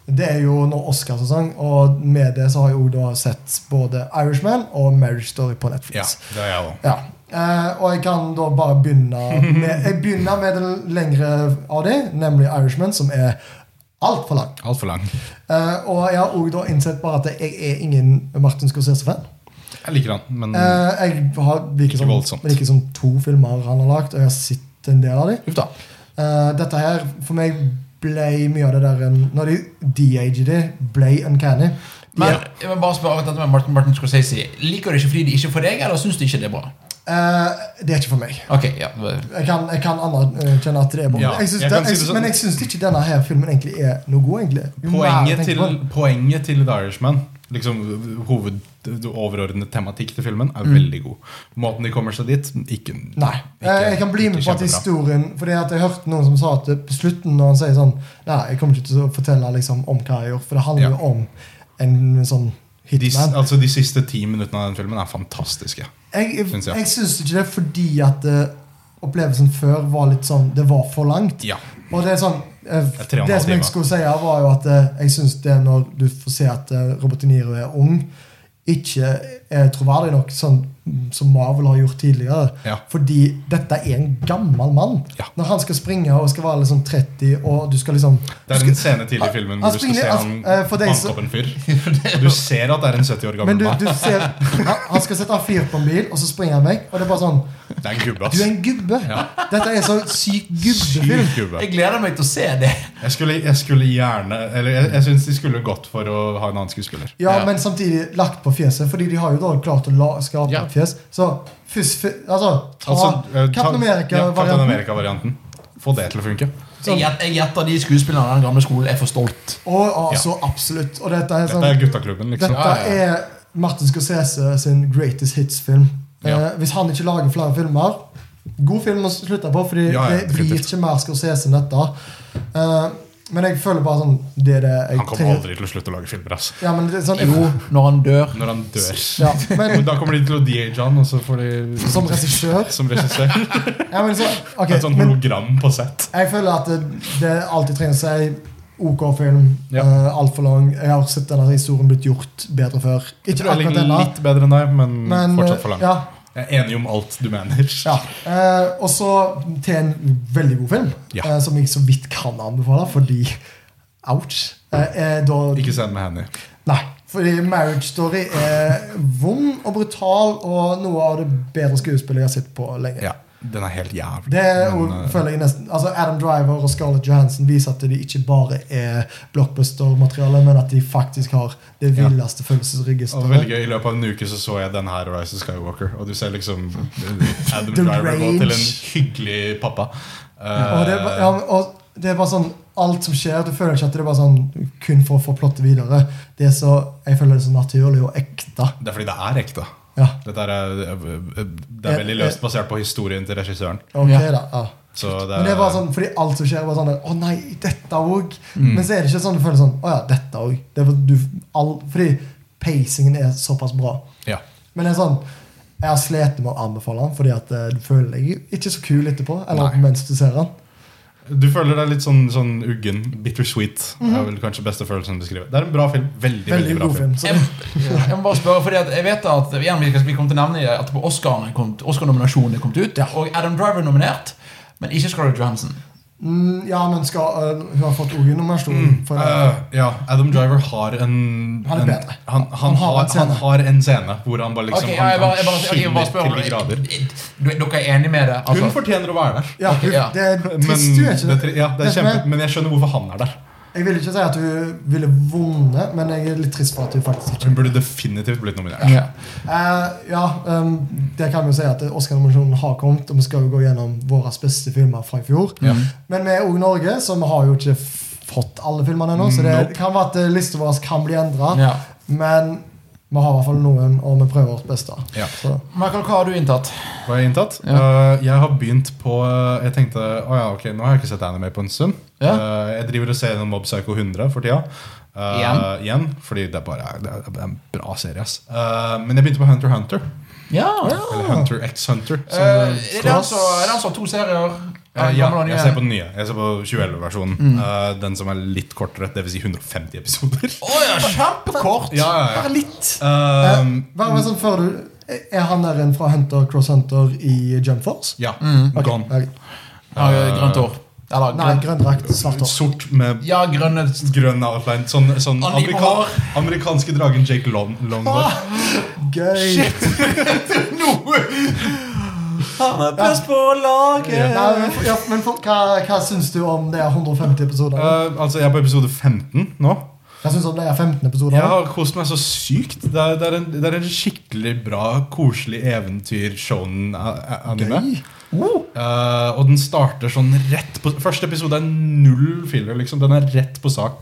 Det er jo nå Oscarsesong, og med det så har jeg òg da sett både Irishman og Marriage Story på Netflix.
Ja, det er jeg også.
Ja. Eh, og jeg kan da bare begynne med, Jeg begynner med den lengre av de, nemlig Irishman, som er altfor lang.
Altfor lang.
Eh, og jeg har òg da innsett bare at jeg er ingen Martin Scorsese-fan.
Jeg liker han, men
Eh, jeg har
Mm. Ikke
liker som,
voldsomt.
liker som to filmer han har lagd, og jeg har sett en del av dem.
Uff da.
Eh, dette her, for meg, ble mye av det der en- Når de de-ager det, ble uncanny. De,
Men jeg vil bare spørre akkurat dette med Martin, Martin Scorsese. Liker du det ikke fordi det ikke er for deg, eller syns du ikke det er bra?
eh, det er ikke for meg.
Ok, ja
Jeg kan, jeg kan anerkjenne at det er bra.
Ja,
jeg synes
jeg
det,
kan si
jeg,
det sånn.
Men jeg syns ikke denne her filmen egentlig er noe god. egentlig Jo mer jeg
Poenget
tenker
til,
på den.
poenget til The Irishman, liksom hoved, overordnet tematikk til filmen, er veldig god. Måten de kommer seg dit, ikke
Mm. Nei. Eh, jeg kan bli med
ikke
på at
kjempebra.
historien Fordi at jeg hørte noen som sa at det- på slutten, når han sier sånn Nei, jeg kommer ikke til å fortelle liksom, om hva jeg gjorde, for det handler jo
Ja.
om en sånn
De, s-
hitman.
altså, de siste ti minuttene av den filmen er fantastiske.
Jeg,
Synes jeg.
jeg syns ikke det fordi at eh, opplevelsen før var litt sånn Det var for langt.
Ja.
Og det er sånn eh,
Det er tre og en
Det
halv
som
time.
jeg skulle si, her var jo at eh, jeg syns det når du får se at eh, Robert De Niro er ung, ikke er troverdig nok, sånn som Marvel har gjort tidligere.
Ja.
Fordi dette er en gammel mann.
Ja.
Når han skal springe og skal være liksom 30, og du skal liksom
Det er en scene tidlig i filmen
Han
hvor du skal
springer-
se han
han- eh, for deg
banke
så-
opp en
[laughs]
fyr. Og du ser at det er en 70 år
Men
gammel
du,
mann.
du ser han, han skal sette en fyr på en bil, og så springer han vekk. Og det er bare sånn
Det er en gubbe,
Du er
ass.
en gubbe! Dette er så sykt gubbefilm.
Syk gubbe.
Jeg gleder meg til å se det.
Jeg skulle, jeg skulle gjerne Eller jeg, jeg syns de skulle gått for å ha en annen skuespiller.
Ja,
Ja.
men samtidig lagt på fjeset, Fordi de har jo da klart å la, skape
Ja.
et fjes. Så først fe- Altså, ta
eh, ta-
Captain
ja, Captain
America-varianten.
America-varianten. Få det til å funke.
Jeg gjet- jeg gjetter de skuespillerne av den gamle skolen er for stolt.
Sånn, og og
Ja.
så absolutt. Og dette er, sånn,
Dette er guttaklubben, liksom.
Ja,
dette
ja.
er Martin Scorsese sin greatest hits-film.
Ja.
Eh, hvis han ikke lager flere filmer God film å slutte på, Fordi
Ja, ja,
det blir
definitivt.
ikke mer Scorsese enn dette. Eh, men jeg føler bare sånn Det er det jeg
Han kommer aldri til å slutte å lage filmer, ass.
Ja, men det er sånn,
Jo, når han dør.
Når han dør.
ja, men,
Men da kommer de til å DH han, og så får de
som regissør
som
[laughs]
regissør.
ja, men
[laughs]
så, ok,
Et sånn
men,
hologram på sett.
Jeg føler at det, det er alt jeg trenger å si. OK film.
Ja.
eh, Altfor lang. Jeg har sett denne historien blitt gjort bedre før.
Jeg
Ikke
tror jeg
akkurat
ligger
denne,
litt bedre enn deg, men,
men
fortsatt for
eh,
lang.
ja,
Jeg er enig om alt du mener.
ja. Eh, Og så til en veldig god film,
Ja.
eh, som jeg så vidt kan anbefale, fordi ouch. Eh, eh, da,
Ikke se den med Henny.
nei, fordi Marriage Story er vond og brutal og noe av det bedre skuespillet jeg har sett på lenge.
Ja, den er helt jævlig.
Det er jo,
Men, eh,
føler jeg nesten altså Adam Driver og Scarlett Johansson viser at de ikke bare er blockbuster-materiale, men at de faktisk har det
Ja.
villeste
Og veldig
følelsesregisteret.
gøy, I løpet av en uke så så jeg den her Rise of Skywalker, og du ser liksom Adam
[laughs] The
Driver gå
rage.
til en hyggelig pappa. Eh,
Og det, er ba- ja, men- og det er bare sånn Alt som skjer, du føler ikke at det er bare sånn kun for å få plottet videre. Det er så, Jeg føler det er så naturlig og ekte.
Det er fordi det er ekte.
Ja,
Dette er, eh, det er veldig løst basert på historien til regissøren.
ok
Ja.
da ja.
Så det
Men det er bare sånn, Fordi alt som skjer, er bare sånn der, Å nei, dette òg.
Mm.
Men så er det ikke sånn du føler sånn Å ja, dette òg. Det er bare- du- all- Fordi pacingen er såpass bra.
ja.
Men det er sånn jeg har slitt med å anbefale den, fordi at eh, du føler deg ikke så kul etterpå. Eller
Nei.
mens du ser den.
Du føler deg litt sånn, sånn uggen. Bittersweet. er vel kanskje beste følelsen å beskrive. Det er en bra film. Veldig, veldig,
Veldig
bra
god
film.
film. Så
Jeg, jeg må bare spørre, fordi at jeg vet at igjen, vi skal- vi kommer til å nevne at på Oscar-nominasjonen kom, Oscar-nominasjonene kom ut, og Adam Driver er nominert, men ikke Scarlett Johansson.
mm, ja, men skal, eh, hun har fått OG-nominasjon. for det.
Eh, ja, Adam Driver har en
Han er
en-
bedre.
Han, han,
Han har
har,
en scene.
han har en scene hvor han bare liksom
Ok, ja,
han,
jeg bare, jeg bare,
han
ok, jeg bare
skinner
spør om
til de grader.
Du- Dere er enige med det?
Hun
Altså.
fortjener å være der.
ja,
ok,
hun,
ja.
Det er
Men,
trist, du er ikke
det er tri- ja, det er
som
kjempe, men jeg skjønner hvorfor han er der.
Jeg vil ikke si at hun ville vunnet, men jeg er litt trist for at hun faktisk ikke
Hun burde definitivt blitt nominert.
Ja.
Eh, Ja, um, det kan vi jo si at Oscar-nominasjonen har kommet, og vi skal jo gå gjennom våre beste filmer fra i fjor.
Ja.
Men vi er òg Norge, så vi har jo ikke f- fått alle filmene ennå. Så det
Nope.
kan være at eh, lista vår kan bli endra.
Ja.
Men vi har i hvert fall noen, og vi prøver vårt beste.
Ja.
Så,
Michael, hva har du inntatt?
Var jeg inntatt? Eh, jeg har begynt på eh, Jeg tenkte å ja, ok, nå har jeg ikke sett anime på en stund.
Ja.
Eh, jeg driver og ser gjennom Mob Psycho 100 for tida. Eh,
Igjen?
igjen. Fordi det er bare det er, det er en bra serie. ass Eh, Men jeg begynte på Hunter x Hunter.
Ja,
Eller Hunter x Hunter.
Eh,
som det-
er det han som er det han som har to serier?
Eh,
Den
ja,
gamle og den nye?
jeg ser på den nye. Jeg ser på 2011-versjonen.
Mm.
Eh, den som er litt kortere, dvs. Si 150 episoder.
Å ja, kjempekort!
Ja, ja, ja.
bare litt.
Eh,
Hva var det som før du Er han der en fra Hunter Cross Hunter i Jump Force?
ja.
Mm.
Ok,
Gone.
ok.
Ja, grønt hår. Eller
Nei,
grønt.
grønn drakt, svart hår.
Sort med
Ja, grønne
grønn outline. Sånn, sånn
Og limo
amerika amerikanske dragen Jake Long Longhorn.
Gøy.
Han er best på laget!
Nei, men, for- ja, men for, hva, hva syns du om det er 150 episoder?
Eh, altså, jeg er på episode 15 nå.
Hva syns du om det er 15 episoder?
Jeg har kost meg så sykt. Det er, det er, en, det er en skikkelig bra, koselig eventyr-shonen-anime.
Gøy.
Eh, og den starter sånn rett på Første episode er null filler. liksom Den er rett på sak.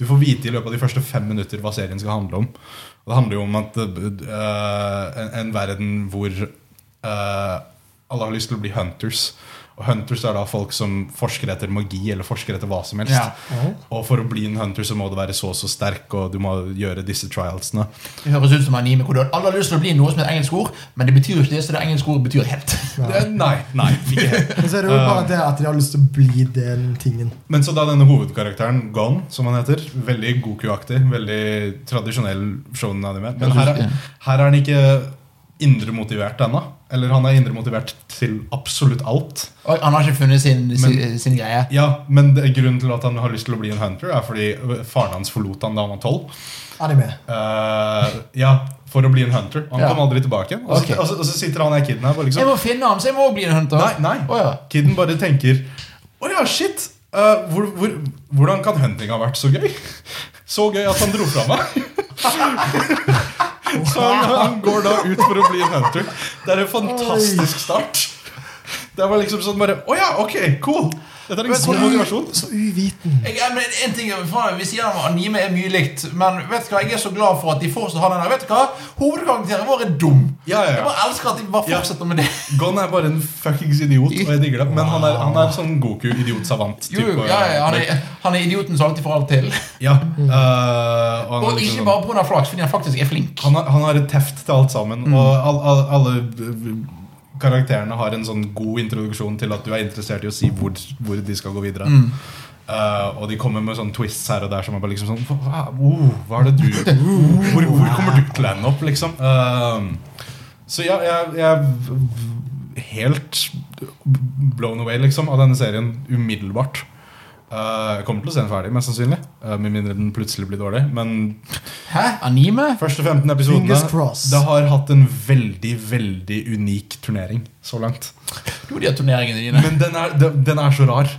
Du får vite i løpet av de første fem minutter hva serien skal handle om. Og det handler jo om at eh, en, en verden hvor eh, alle har lyst til å bli hunters. Og Hunters er da folk som forsker etter magi eller forsker etter hva som helst.
Ja.
Mhm.
Og for å bli en hunter så må du være så og så sterk, og du må gjøre disse trialsene.
Det høres ut som anime hvor du har alle har lyst til å bli noe som er et engelsk ord, men det betyr jo ikke det, så det engelske ordet betyr helt. [laughs]
Det- Nei, nei, ikke helt.
Men så er det jo bare det at de har lyst til å bli den tingen.
[laughs] Men så da denne hovedkarakteren, Gon, som han heter Veldig Goku-aktig. Veldig tradisjonell shonen-anime. Men her, er- her er han ikke indremotivert ennå. Eller han er indremotivert til absolutt alt.
Og han har ikke funnet sin, sin, sin greie.
Ja, Men det, grunnen til at han har lyst til å bli en hunter, er fordi øh, faren hans forlot han da han var tolv. Eh,
Anime.
ja, for å bli en hunter. Og han
Ja.
kom aldri tilbake. Og så,
Ok.
og så, og så sitter han der kiden her bare
Jeg
liksom
må finne han, så jeg må bli en hunter.
Nei, nei.
Å, ja.
Kiden bare tenker Å ja, shit! eh, hvor, hvor, hvordan kan hunting ha vært så gøy? Så gøy at han dro fra meg. [laughs] så han, han går da ut for å bli en hunter. Det er en fantastisk start. Det var liksom sånn bare Å ja, ok, cool! Dette er en god motivasjon.
Så uviten.
Jeg, jeg, men en ting er, faen, Vi sier at anime er mye likt, men vet du hva, jeg er så glad for at de fortsatt har den der. Vet du hva? Hovedkarakteren vår er dum.
Ja, ja, ja.
Jeg bare elsker at de bare
Ja.
fortsetter med det.
Gon er bare en fuckings idiot, og jeg digger det. Men han er, han er sånn Goku-idiot-savant.
[laughs] Jo, jo,
type.
ja, ja, han, er, han er idioten som alltid får alt til.
Ja, eh, og han er
Og ikke
liksom sånn-
bare pga. flaks, fordi han faktisk er flink.
Han har, han har et teft til alt sammen, og all, all, alle øh, karakterene har en sånn god introduksjon til at du er interessert i å si hvor, hvor de skal gå videre. Eh, og de kommer med sånne twists her og der som er bare liksom sånn Hva, oh, hva er det du hvor, hvor kommer du til å ende opp, liksom? Eh, så ja, jeg, jeg er helt blown away liksom av denne serien umiddelbart. Eh, jeg kommer til å se den ferdig, mest sannsynlig. eh, med mindre den plutselig blir dårlig. Men
Hæ? Anime?
Første 15
Fingers
episodene
crossed.
Det har hatt en veldig, veldig unik turnering så langt.
Jo, de har turneringene dine.
Men den er, den den er så rar.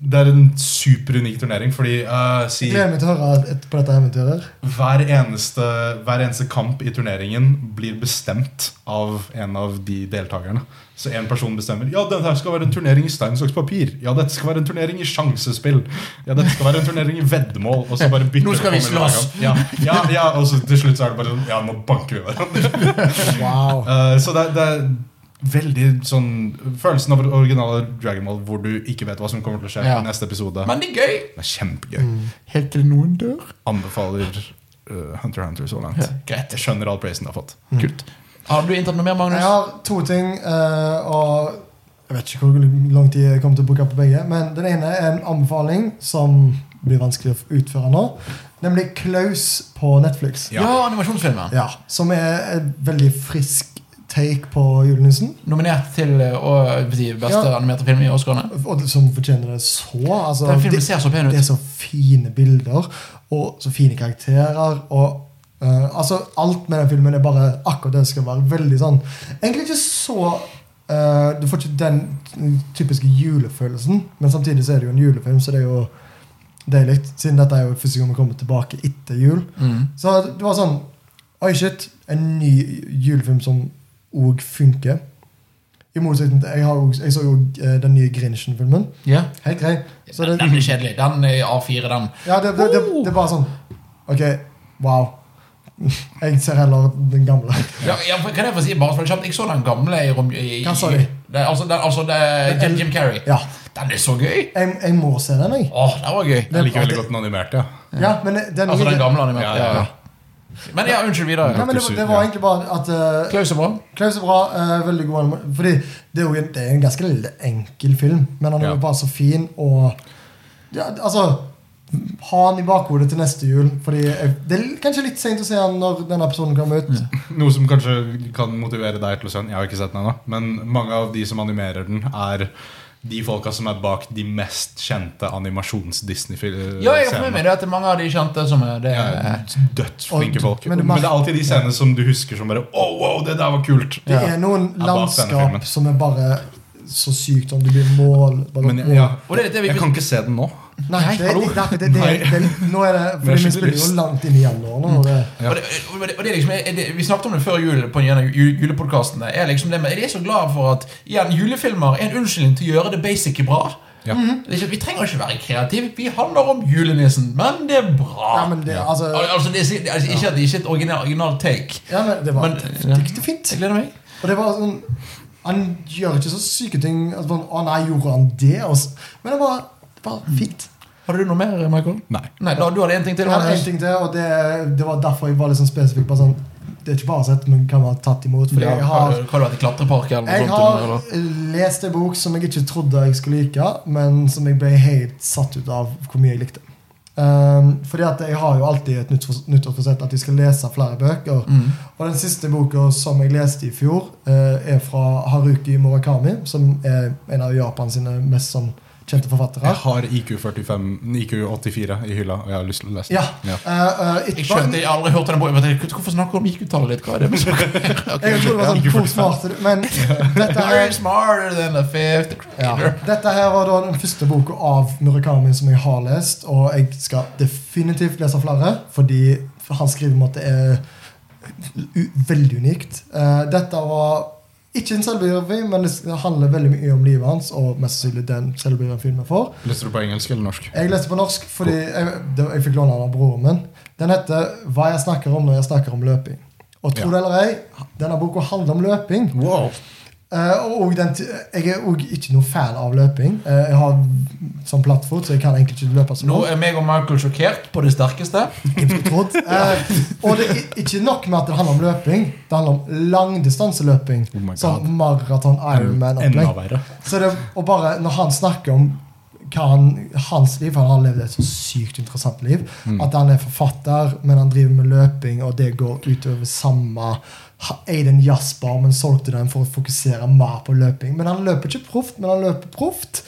Det er en superunik turnering, fordi eh, si,
Jeg gleder meg til å høre et, på dette eventyret.
hver, eneste, hver eneste kamp i turneringen blir bestemt av en av de deltakerne. Så en person bestemmer Ja, denne her skal være en turnering i stein, saks, papir. Ja, dette skal være en turnering i sjansespill. Ja, dette skal være en turnering i veddemål. Og så bare bytter
Nå skal
det
vi
på mellom hver
slåss.
gang. Ja, ja, ja, og så til slutt så er det bare sånn Ja, nå banker vi hverandre.
Wow.
Eh, så det, er- det er veldig sånn Følelsen av originale Dragon Ball hvor du ikke vet hva som kommer til å skje
Ja. Mm.
i neste episode.
Men det er gøy.
det er kjempegøy.
Helt til noen dør.
Anbefaler eh, Hunter x Hunter så langt.
Ja, greit.
Jeg skjønner all praisen det har fått.
Kult. Har du inntatt noe mer, Magnus?
Jeg har to ting, eh, og jeg vet ikke hvor lang tid jeg kommer til å bruke på begge. Men den ene er en anbefaling som blir vanskelig å utføre nå. Nemlig Klaus på Netflix.
Ja, animasjonsfilmen.
Ja, Som er et veldig frisk take på julenissen.
Nominert til eh, å, jeg vil si, beste
Ja.
animerte film i Oscarene.
Og som fortjener det så. Altså,
Den filmen
det-
ser så pen ut.
Det er så fine bilder, og så fine karakterer. og eh, altså Alt med den filmen er bare akkurat det det skal være. Veldig sånn Egentlig ikke så eh, Du får ikke den typiske julefølelsen, men samtidig så er det jo en julefilm, så det er jo deilig. Siden dette er jo første gang vi kommer tilbake etter jul.
Mm.
Så det var sånn Oi, shit. En ny julefilm som òg funker. I motsetning til Jeg, har, jo- jeg så jo eh, den nye Grinchen-filmen.
Ja.
Helt grei. Så det-
Den er kjedelig. Den er A4, den.
ja, det, det, det, det er bare sånn Ok, wow. [laughs] Jeg ser heller den gamle. [laughs]
Ja, ja, for- kan jeg få si bare for kjapt Jeg så den gamle i rom... i-
Hva sa
i-
de?
Det, altså, den, altså det, Jim, Jim Carrey.
Ja,
Den er så gøy!
jeg, jeg må se den, jeg.
Åh, den var gøy.
Jeg liker veldig godt den animerte. Ja.
Ja, men det- den,
Altså den gamle animerte.
Ja,
Ja,
ja, ja.
Men ja, unnskyld
Nei,
videre.
men det, var- det var egentlig bare at eh,
Klaus er bra.
Klaus er bra. eh, veldig god anime. Fordi det er jo en, det er en ganske lille, enkel film, men han er
Ja.
jo bare så fin og ja, Altså Ha han i bakhodet til neste jul. Fordi jeg, Det er kanskje litt seint å se han når denne episoden kommer ut.
Noe som kanskje kan motivere deg til å se den. Jeg har ikke sett den ennå. Men mange av de som animerer den, er de folka som er bak de mest kjente animasjons-Disney-scenene.
Ja, jeg har fått med meg det at det er mange av de kjente som er det.
Ja, Dødsflinke
Eh, Og-
folk.
men
Men,
du
det er
merker-
alltid de scenene som du husker som bare oh, wow, det der var kult.
Det er noen
bak denne filmen.
landskap som er bare så sykt om du blir mål... bare
Men
mål.
jeg, ja.
Og det er det vi-
jeg kan ikke se den nå.
Nei, det,
hallo?
det, det, det,
Nei.
det, det, nå er
Men jeg
det Fordi vi
skjønner
spiller jo
lyst.
langt inn i januar nå. Og det,
Og det, og det, og det er liksom, er det, vi snakket om det før jul på en av ju- julepodkastene. Er liksom det, men jeg er så glad for at igjen, julefilmer er en unnskyldning til å gjøre det basic bra.
Ja.
Mm-hmm.
Det er ikke, vi trenger ikke være kreative. Vi handler om julenissen, men det er bra.
ja, men det, altså,
Al- altså, det, er- altså, ikke at det ikke er et original, original take.
ja, men det var
Men-
det gikk det fint.
Jeg gleder meg.
Og det var sånn Han gjør ikke så syke ting. At man, å nei, gjorde han det? Og s- Men det var, det var fint.
Hadde du noe mer, Michael?
Nei.
Nei, da, du hadde én ting til.
Jeg hadde
Anders.
en ting til, og det, det var derfor jeg var litt sånn spesifikk. Bare sånn, det er ikke bare sett, men hva vi har tatt imot. Fordi
Ja,
jeg har
Hva har du vært i klatrepark eller noe
Jeg
sånt?
har
eller?
lest en bok som jeg ikke trodde jeg skulle like, men som jeg ble helt satt ut av hvor mye jeg likte. Um, fordi at jeg har jo alltid et nytt fors- nyttårsforsett at jeg skal lese flere bøker.
Mm.
Og den siste boka som jeg leste i fjor, eh, er fra Haruki Murakami, som er en av Japan sine mest sånn kjente forfattere.
Jeg har IQ 45, IQ 84 i hylla, og jeg har lyst til å lese
Ja.
Ja.
eh, eh,
Jeg
etterpå-
skjønte jeg aldri hørte den på. Jeg bare, Hvorfor snakker du om IQ-tallet ditt? Hva
[laughs]
er det? med saker?» Ok,
Jeg trodde det var sånn hvor smart er du? Men dette her
Very smarter than a fifth
Ja.
grader.
Dette her var da den første boka av Murakami som jeg har lest, og jeg skal definitivt lese flere, fordi hans skrivemåte er u veldig unikt. Eh, dette var ikke en selvbiografi, men det handler veldig mye om livet hans, og mest sannsynlig den selvbiografien vi får.
Leste du på engelsk eller norsk?
Jeg leste på norsk fordi jeg, det, jeg fikk låne den av broren min. Den heter 'Hva jeg snakker om når jeg snakker om løping'. Og tro
Ja.
det eller ei, denne boka handler om løping.
Wow.
Eh, og- og den, t- jeg er òg ikke noe fan av løping. Eh, jeg har sånn plattfot, så jeg kan egentlig ikke løpe så
Nå
langt.
er meg og Michael sjokkert på det sterkeste.
Jeg skulle
[laughs]
trodd. Eh, og det er ikke nok med at det handler om løping. Det handler om langdistanseløping.
Oh my God.
sånn maraton,
Enda
Ironman-opplegg.
verre.
Så det, og bare når han snakker om hva han, hans liv Han har levd et så sykt interessant liv. At han er forfatter, men han driver med løping, og det går utover samme ha- Eide en jazzbar, men solgte den for å fokusere mer på løping. Men han løper ikke proft, men han løper proft.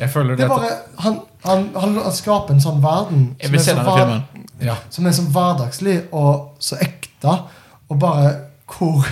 Jeg føler
Det er bare, han, han, han, han skaper en sånn verden
Jeg vil
som
se
er så
denne
hver-
filmen.
ja.
som er så hverdagslig og så ekte, og bare hvor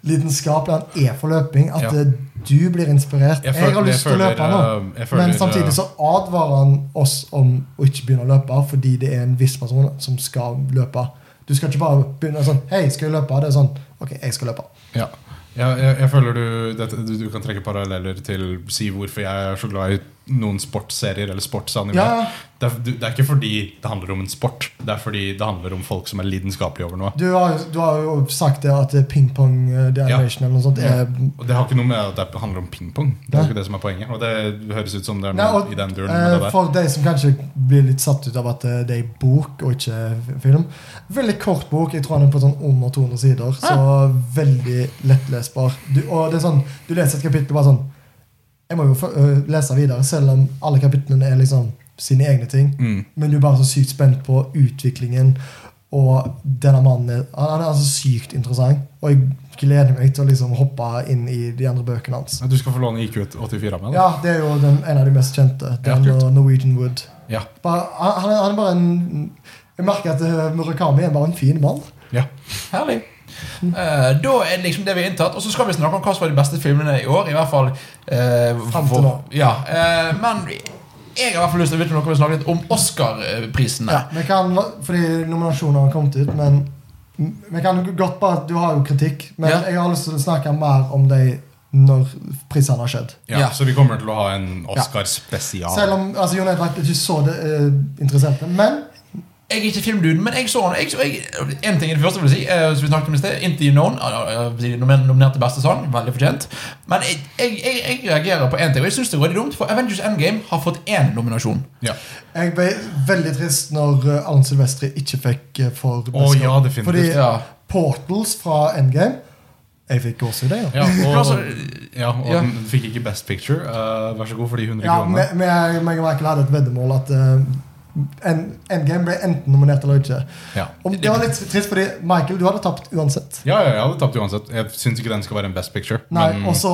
lidenskapelig han er for løping, at
Ja.
eh, du blir inspirert.
Jeg
Jeg,
føl-
har lyst
jeg
til å
føler,
løpe nå.
eh, jeg føler,
Men samtidig så advarer han oss om å ikke begynne å løpe, fordi det er en viss person som skal løpe. Du skal ikke bare begynne sånn Hei, skal jeg løpe? Det er sånn Ok, jeg skal løpe.
Ja. Ja, jeg, jeg føler du, dette, du, du kan trekke paralleller til si hvorfor jeg er så glad i noen sportsserier eller sportsanime.
Ja.
Det, er, du, det er ikke fordi det handler om en sport, det er fordi det handler om folk som er lidenskapelige over noe.
Du har, du har jo sagt det at eh, pingpong, eh, the
Ja.
animation eller noe sånt, er
Og det har ikke noe med at det handler om pingpong. Det er
Nei.
jo ikke det som er poenget. Og det høres ut som det er
Nei,
noe
og,
i den duren
eh,
med det der.
For de som kanskje blir litt satt ut av at eh, det er bok og ikke film. Veldig kort bok. Jeg tror den er på sånn under 200 sider. Så veldig lettlesbar. Du, og det er sånn, du leser et kapittel bare sånn Jeg må jo få- øh, lese videre, selv om alle kapitlene er liksom sine egne ting.
Mm.
Men du er bare så sykt spent på utviklingen. Og denne mannen er, han er altså sykt interessant. Og jeg gleder meg til å liksom hoppe inn i de andre bøkene hans.
Ja, Du skal få låne IQ84 av meg. da.
Ja, det er jo den, en av de mest kjente. Den
Ja, kult.
og Norwegian Wood.
Ja.
Bare, han, han er- han er bare en Jeg merker at eh, Murakami er bare en fin mann.
Ja.
Herlig. Eh, da er liksom det vi er inntatt. Og så skal vi snakke om hva som var de beste filmene i år. I hvert fall eh,
Frem til
hvor-
nå.
Ja, eh, men jeg har i hvert fall lyst til å vite om dere vil snakke litt om Oscar-prisene.
Ja. Vi kan, fordi nominasjoner har kommet ut, men vi kan godt bare, Du har jo kritikk, men
Ja.
jeg har lyst til å snakke mer om de når prisene har skjedd.
Ja.
Ja.
Så vi kommer til å ha en
Selv
Oscar-spesial.
om altså, Jon Edvard ikke så det eh, interessante. Men
Jeg er ikke filmduden, men jeg så han. Jeg, så- jeg, en ting er det første jeg vil si eh, Som vi snakket om i sted Into eh, Known Nominert til beste sang. Veldig fortjent. Men jeg, jeg, jeg, jeg reagerer på én ting, og jeg syns det er veldig dumt, for Avengers Endgame har fått én nominasjon.
Ja.
jeg ble veldig trist når eh, Alan Silvestri ikke fikk eh, for
Å ja, definitivt.
Fordi
Ja.
Portals fra Endgame Jeg fikk gåsehud, jeg. da.
Ja,
[laughs]
og,
Altså,
ja, og
ja.
den fikk ikke Best Picture. Eh, vær så god for de 100
Ja,
kronene.
meg meg- meg og Michael hadde et veddemål at eh, en- Endgame ble enten nominert eller ikke.
Ja.
Og det var litt trist, fordi Michael, du hadde tapt uansett.
Ja, ja, jeg hadde tapt uansett. Jeg syns ikke den skal være en Best Picture.
Nei,
men-
Og så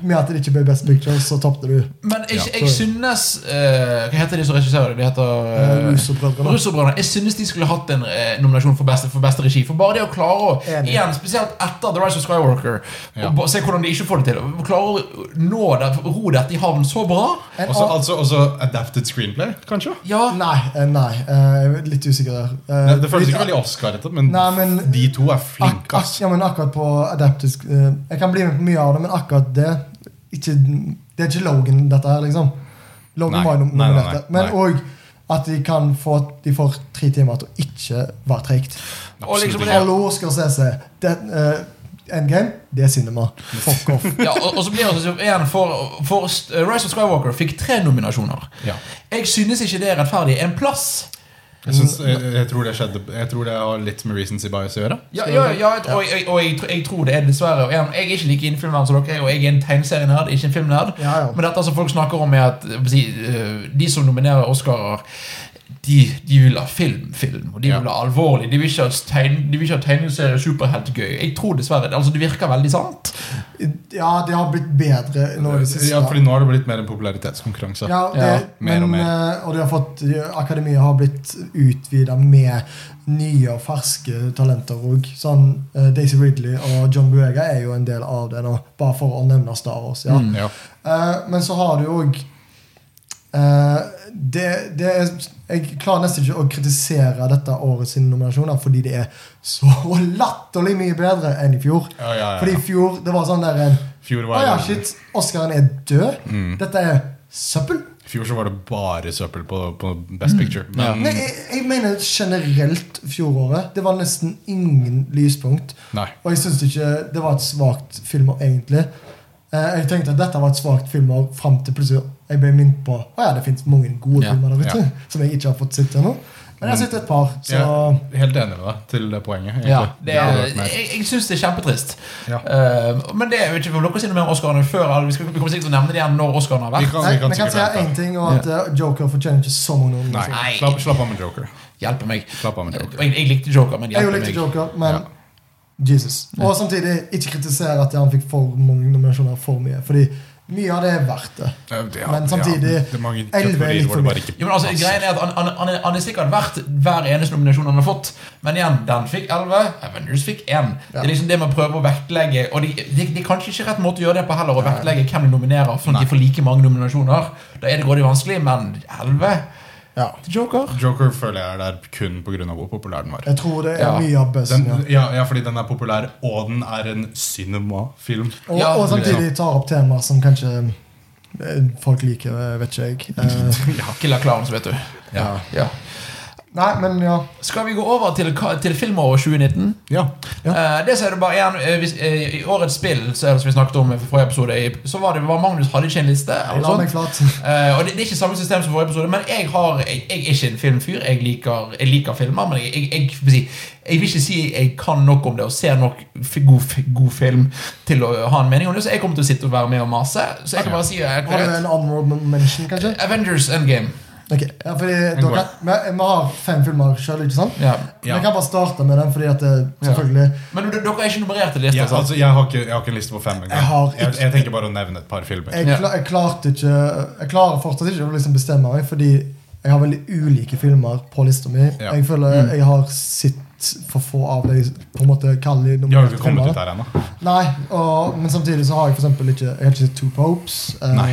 med at det ikke ble Best Picture, så tapte du.
Men jeg,
Ja.
jeg synes eh, Hva heter de som regisserer det? De heter
Eh,
eh,
Russo-brødrene.
Russo-brødrene. Jeg synes de skulle hatt en eh, nominasjon for beste, for beste regi. For bare det å klare å
Enig.
igjen, Spesielt etter The Rise of Skywalker.
Ja.
Og ba- se hvordan de ikke får det til. og Klare å nå det, ro dette i havn så bra.
En
Også,
annen-
altså, også adapted screenplay, kanskje?
Ja,
Nei, eh, nei. eh, litt usikker der. Eh,
Det, det føles
litt-
ikke veldig Oscar-rettet, men,
Nei, men-
de to er
Ak
flinke.
ak
ass.
ja, men akkurat på Adaptisk eh, Jeg kan bli med på mye av det, men akkurat det ikke, Det er ikke Logan, dette her, liksom. Logan
Nei,
var jo nom-
nei, nei, nei,
nominert. Men
nei.
òg at de kan få De får tre timer til å ikke være treigt.
og liksom
Absolutt
det
Hallo, skal se seg. Det, eh, Endgame, det er cinema. Fuck
[laughs]
off.
Ja, og, og så blir det altså igjen for, for eh, Rise of Skywalker fikk tre nominasjoner.
Ja.
Jeg synes ikke det er rettferdig. En plass
Jeg, syns-
Mm.
jeg, jeg, tror det skjedde, jeg tror det har litt med recency bias å gjøre.
Ja, ja, ja jeg, og, jeg, og jeg, tr- jeg tror det er dessverre og igjen, Jeg er ikke like innfilmnerd som dere, er, og jeg er en tegneserienerd, ikke en filmnerd.
Ja, ja.
Men dette som folk snakker om, er at jeg vil si, eh, de som nominerer Oscarer, de, de vil ha film, film, og de
Ja.
vil ha alvorlig. De vil ikke ha, tegn, de vil ikke ha tegneserie superheltgøy. Jeg tror dessverre altså Det virker veldig sant.
Ja, det har blitt bedre nå i det siste.
Ja, fordi nå har det blitt mer en popularitetskonkurranse.
Ja, det,
Ja,
men,
mer og mer.
eh, og de har fått, akademiet har blitt utvida med nye og ferske talenter òg. Sånn, eh, Daisy Ridley og John Buega er jo en del av det nå, bare for å nevne Star Wars. Ja.
Mm. Ja.
Eh, men så har du òg eh, det, det er, Jeg klarer nesten ikke å kritisere dette årets nominasjoner fordi det er så [laughs] latterlig mye bedre enn i fjor.
Ja, ja, ja.
Fordi i fjor det var sånn der en,
Fjor
Å
var Mm.
ja,
det-
shit, Oscaren er død. Dette er søppel.
I fjor så var det bare søppel på, på Best Picture. Men
Mm. Nei, jeg, jeg mener generelt fjoråret. Det var nesten ingen lyspunkt.
nei.
Og jeg syns ikke det var et svakt filmår, egentlig. Eh, jeg tenkte at dette var et svakt filmår fram til plutselig jeg ble minnet på Å ja, det fins mange gode
Ja,
filmer der ute [laughs]
ja. Mm.
som jeg ikke har fått sett ennå. Men jeg har sett et par, så
Jeg er helt enig med deg til det poenget. egentlig.
det er,
Det hadde vært mer.
jeg jeg syns det er kjempetrist.
Ja.
Eh, men det er jo ikke for dere å si noe mer om Oscarene før. eller Vi, skal, vi kommer sikkert til å nevne det igjen når Oscarene har vært.
Vi kan, Sånn
Nei,
vi kan
men jeg kan
sikkert
si
vente.
én ting, og at eh, Joker fortjener ikke så mange
Nei,
nominasjoner.
Nei.
Slapp, slapp av med Joker.
Hjelpe meg.
Slapp av med
Jeg,
Joker.
jeg likte Joker, men
Jeg
hjelpe
jo likte
meg.
Joker, men
Ja.
Jesus. Og samtidig ikke kritisere at han fikk for mange nominasjoner for mye. Fordi mye av det er verdt det.
Ja, det- ja,
Men samtidig, liksom-
ja, det er mange
11 er litt
kategorier hvor det
for
bare ikke
Jo, men altså,
passer.
greien er at han, han, han, er, han er sikkert verdt hver eneste nominasjon han har fått. Men igjen, den fikk 11, Avengers fikk 1. Det
Ja.
er liksom det man prøver å vektlegge. Og det de, de er kanskje ikke rett måte å gjøre det på heller, å vektlegge hvem de nominerer. Sånn at de får like mange nominasjoner. Da er det grådig vanskelig, men 11
Ja.
til Joker?
Joker føler jeg er der kun pga. hvor populær den var.
Jeg tror det er
Ja.
mye av buzzen.
Den,
Ja.
ja, ja, fordi den er populær, og den er en cinemafilm.
Og,
Ja,
og samtidig tar opp temaer som kanskje eh, folk liker, eh, vet ikke jeg.
[laughs]
Eh,
Killer Clowns, vet du.
Ja.
Ja.
nei, men ja.
Skal vi gå over til, ka- til filmåret 2019?
Ja.
Eh, det så er det bare igjen, eh, hvis, eh, I årets spill så er det som vi snakket om i forrige episode, i- så var det var Magnus hadde ikke en liste. eller
La
sånt.
meg flat.
Eh, og det, det er ikke samme system som forrige episode, men jeg, har, jeg, jeg er ikke en filmfyr. Jeg liker, jeg liker filmer, men jeg, jeg, jeg, vil si- jeg vil ikke si jeg kan nok om det og ser nok f- god, f- god film til å ha en mening om det, så jeg kommer til å sitte og være med og mase. Så jeg kan bare si jeg,
Har du en honorable mention, kanskje?
Avengers Endgame.
Ok, ja, fordi
Den går.
dere, vi, vi har fem filmer sjøl, ikke sant?
Ja.
Ja.
Vi kan bare starte med den, fordi at det, selvfølgelig
Men d- dere er ikke nummerert til lista?
Ja,
sant?
altså, jeg, har ikke, jeg har ikke en liste på fem engang.
Jeg har
Jeg,
ikke-
jeg tenker bare å nevne et par filmer.
jeg,
Ja.
kla- jeg klarte ikke Jeg klarer fortsatt ikke å liksom bestemme meg, fordi jeg har veldig ulike filmer på lista mi.
Ja.
Jeg føler jeg har sett for få av de på en måte kalde
Jeg har jo ikke kommet ut
filmene.
der ennå.
Nei, og, men samtidig så har jeg for eksempel ikke Jeg har ikke sett Two Popes. eh,
Nei.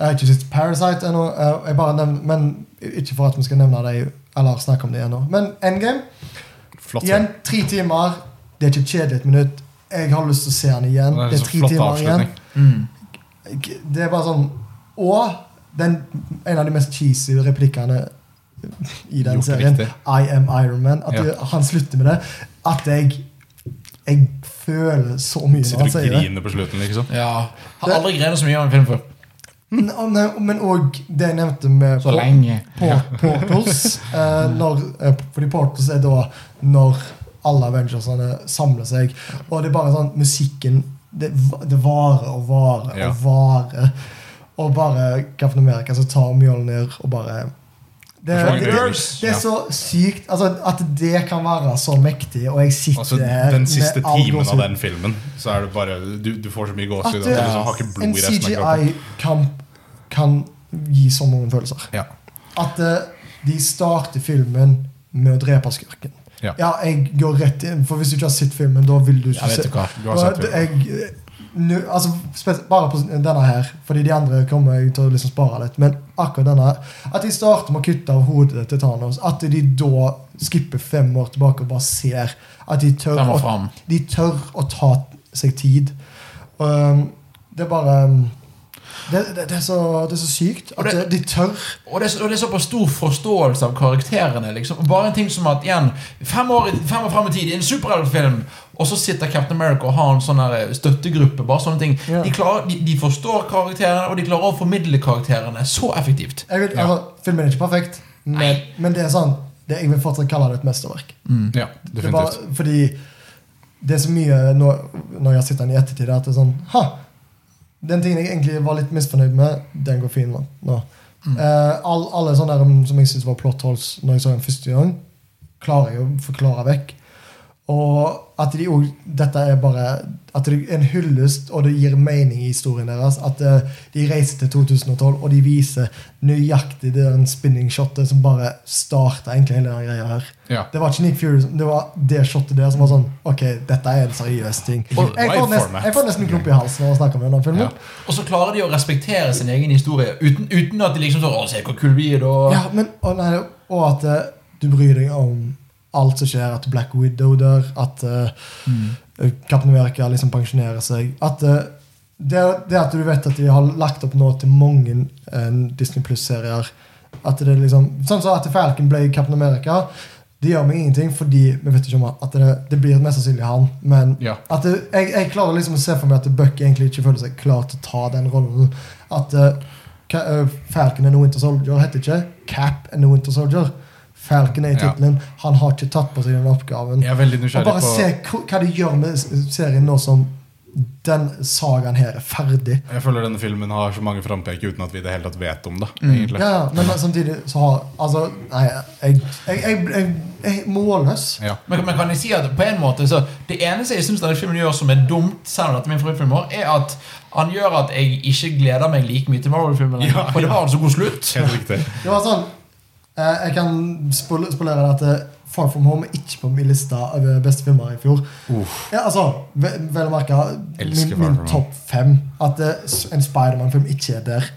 jeg har ikke sett Parasite ennå. eh, jeg bare nevner, men ikke for at vi skal nevne det eller snakke om det ennå. Men Endgame,
Flott.
igjen, tre timer. Det er ikke kjedelig et minutt. Jeg har lyst til å se den igjen.
Det er
Det er
så
tre
flott
timer igjen.
avslutning.
Mm.
Jeg- Det er bare sånn Og den, en av de mest cheesy replikkene i den
Gjort
serien,
riktig.
I am Iron Man, at
Ja.
du, han slutter med det, at jeg jeg føler så mye når
Sitter
han
og
sier det.
griner på slutten, liksom.
Ja. Har aldri grenet så mye av en film før.
N- og- nei, Men òg det jeg nevnte med
Så lenge.
Por- Portals. eh, når, eh, fordi Portals er da når alle Avengersene samler seg. Og det er bare sånn musikken Det, va- det varer og varer
Ja.
og varer. Og bare Captain America som tar Mjolnir og bare det,
Det er så mange
det, det,
grunner.
det er
Ja.
så sykt altså, at det kan være så mektig, og jeg sitter
Altså,
her
den siste
all
timen av
gåsehud.
den filmen, så er det bare Du, du får så mye
At
gåsehud at du liksom har ikke
det, en
blod i resten av kroppen.
CGI-kamp kan gi så mange følelser.
Ja.
At eh, de starter filmen med å drepe skurken.
Ja.
jeg går rett inn, for hvis du ikke har sett filmen, da vil du
Ja,
ikke
vet du hva.
Du har sett
Og det-
filmen.
jeg, eh, nu, altså, spes- bare på denne her, fordi de andre kommer jeg til å liksom spare litt. Men akkurat denne her, At de starter med å kutte av hodet til Thanos. At de da skipper fem år tilbake og bare ser at de tør,
Fem år
å,
fram.
de tør å ta seg tid. Um, det er bare um, Det, det, det, er, så, det er så sykt
Og
at
det-
de tør.
Og det, er så- og det er såpass stor forståelse av karakterene. Liksom. Bare en ting som at igjen, fem år, fem år frem i tid i en superheltfilm, og så sitter Captain America og har en sånn her, eh, støttegruppe. Bare sånne ting
Ja.
de, klarer, de, de forstår karakterene, og de klarer å formidle karakterene så effektivt.
Jeg vil,
Ja.
altså, filmen er ikke perfekt, men,
Nei.
men det er sånn det, Jeg vil fortsatt kalle det et mesterverk.
Mm.
Ja,
Det er bare,
definitivt.
fordi det er så mye nå, når jeg sitter den i ettertid, at det er sånn Ha! Den tingen jeg egentlig var litt misfornøyd med, den går fin nå. nå. Eh, all, alle sånne der, um, som jeg syntes var plot holes når jeg så den første gang, klarer jeg å forklare vekk. Og at de òg Dette er bare At det er en hyllest, og det gir mening i historien deres. At eh, de reiser til 2012, og de viser nøyaktig det den spinning-shotet eh, som bare starta egentlig hele den greia her.
Ja.
Det var ikke Nick Fury, som- det var det shotet der som var sånn Ok, dette er en seriøs ting. Jeg
Og-
får nesten, jeg får nesten klump i halsen når jeg snakker om den filmen.
Ja.
Ja.
Og så klarer de å respektere sin egen historie uten, uten at de liksom sånn Å, se hvor kul vi er, da.
men, og, nei, og at eh, du bryr deg om alt som skjer, at Black Widow dør, at eh, Captain America liksom pensjonerer seg. At eh, det, det at du vet at de har lagt opp nå til mange eh, Disney Pluss-serier At det er liksom Sånn som at Falcon ble Captain America. Det gjør meg ingenting, fordi vi vet ikke om at det, det blir mest sannsynlig han. Men
Ja.
at det, jeg, jeg klarer liksom å se for meg at Buck egentlig ikke føler seg klar til å ta den rollen. At eh, Ka- eh, Falcon and the Winter Soldier heter ikke Cap and the Winter Soldier. Falcon er i
Ja.
tittelen. Han har ikke tatt på seg den oppgaven.
Jeg er veldig
Og
nysgjerrig
bare
på
se hva- hva de gjør med s- serien nå som den sagaen her er ferdig.
Jeg føler denne filmen har så mange frampek uten at vi i det hele tatt vet om det.
Mm.
Ja,
egentlig.
ja, men samtidig så har Altså, nei, jeg, jeg, jeg, jeg, jeg er målløs.
Ja.
Men, men kan jeg si at på en måte så Det eneste jeg syns denne filmen gjør som er dumt, selv om dette er min favorittfilm, i år, er at han gjør at jeg ikke gleder meg like mye til Marvel-filmen. lenger,
Ja,
for det var en så god slutt.
Helt riktig.
Det var sånn eh, Jeg kan spol spolere det at eh, Far From Home er ikke på min liste over beste filmer i fjor. Ja, altså, ve Vel å merke min,
Elsker Far
min
From Home.
topp fem. At eh, s- en Spiderman-film ikke er der.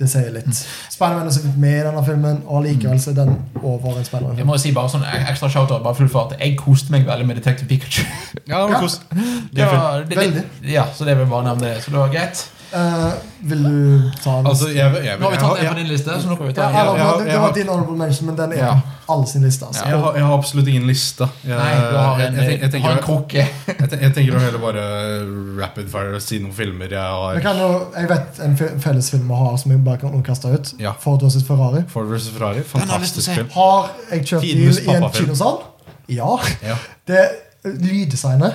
Det sier litt.
Mm.
Spiderman er så vidt med i denne filmen, og likevel så er den over en
Jeg
Spiderman-film.
må si bare sånn ek- ekstra shoutout, bare full fart. Jeg koste meg veldig med Detective Pikachu.
[laughs] Ja, men
Ja.
kos. Det
Det
er fint.
var, det, det, ja, så det vil jeg bare nevne det. Så det var greit.
Eh, vil du ta den?
Altså, jeg, jeg, jeg,
Nå har vi
jeg,
tatt en
jeg,
på din liste, så nå kan vi ta
ja,
en.
eller,
jeg har-
det,
jeg
det
har-
var din honorable mention, men den er
Ja.
på alle sin liste. Altså.
har, jeg har absolutt ingen liste. Jeg,
Nei, du har en,
jeg, jeg, jeg,
har
tenker,
en krukke.
jeg, ten- jeg tenker å heller bare rapid fire og si noen filmer jeg
Vi
har.
kan jo, jeg vet en fe- felles film vi har som jeg bare kan kaste ut.
Ja.
Ford vs. Ferrari.
Ford vs. Ferrari.
har jeg lyst til å
Fantastisk
se.
film.
Har jeg kjøpt
Tidenes
bil i en
pappafilm.
kinosal? Ja.
Ja.
Det Lyddesignet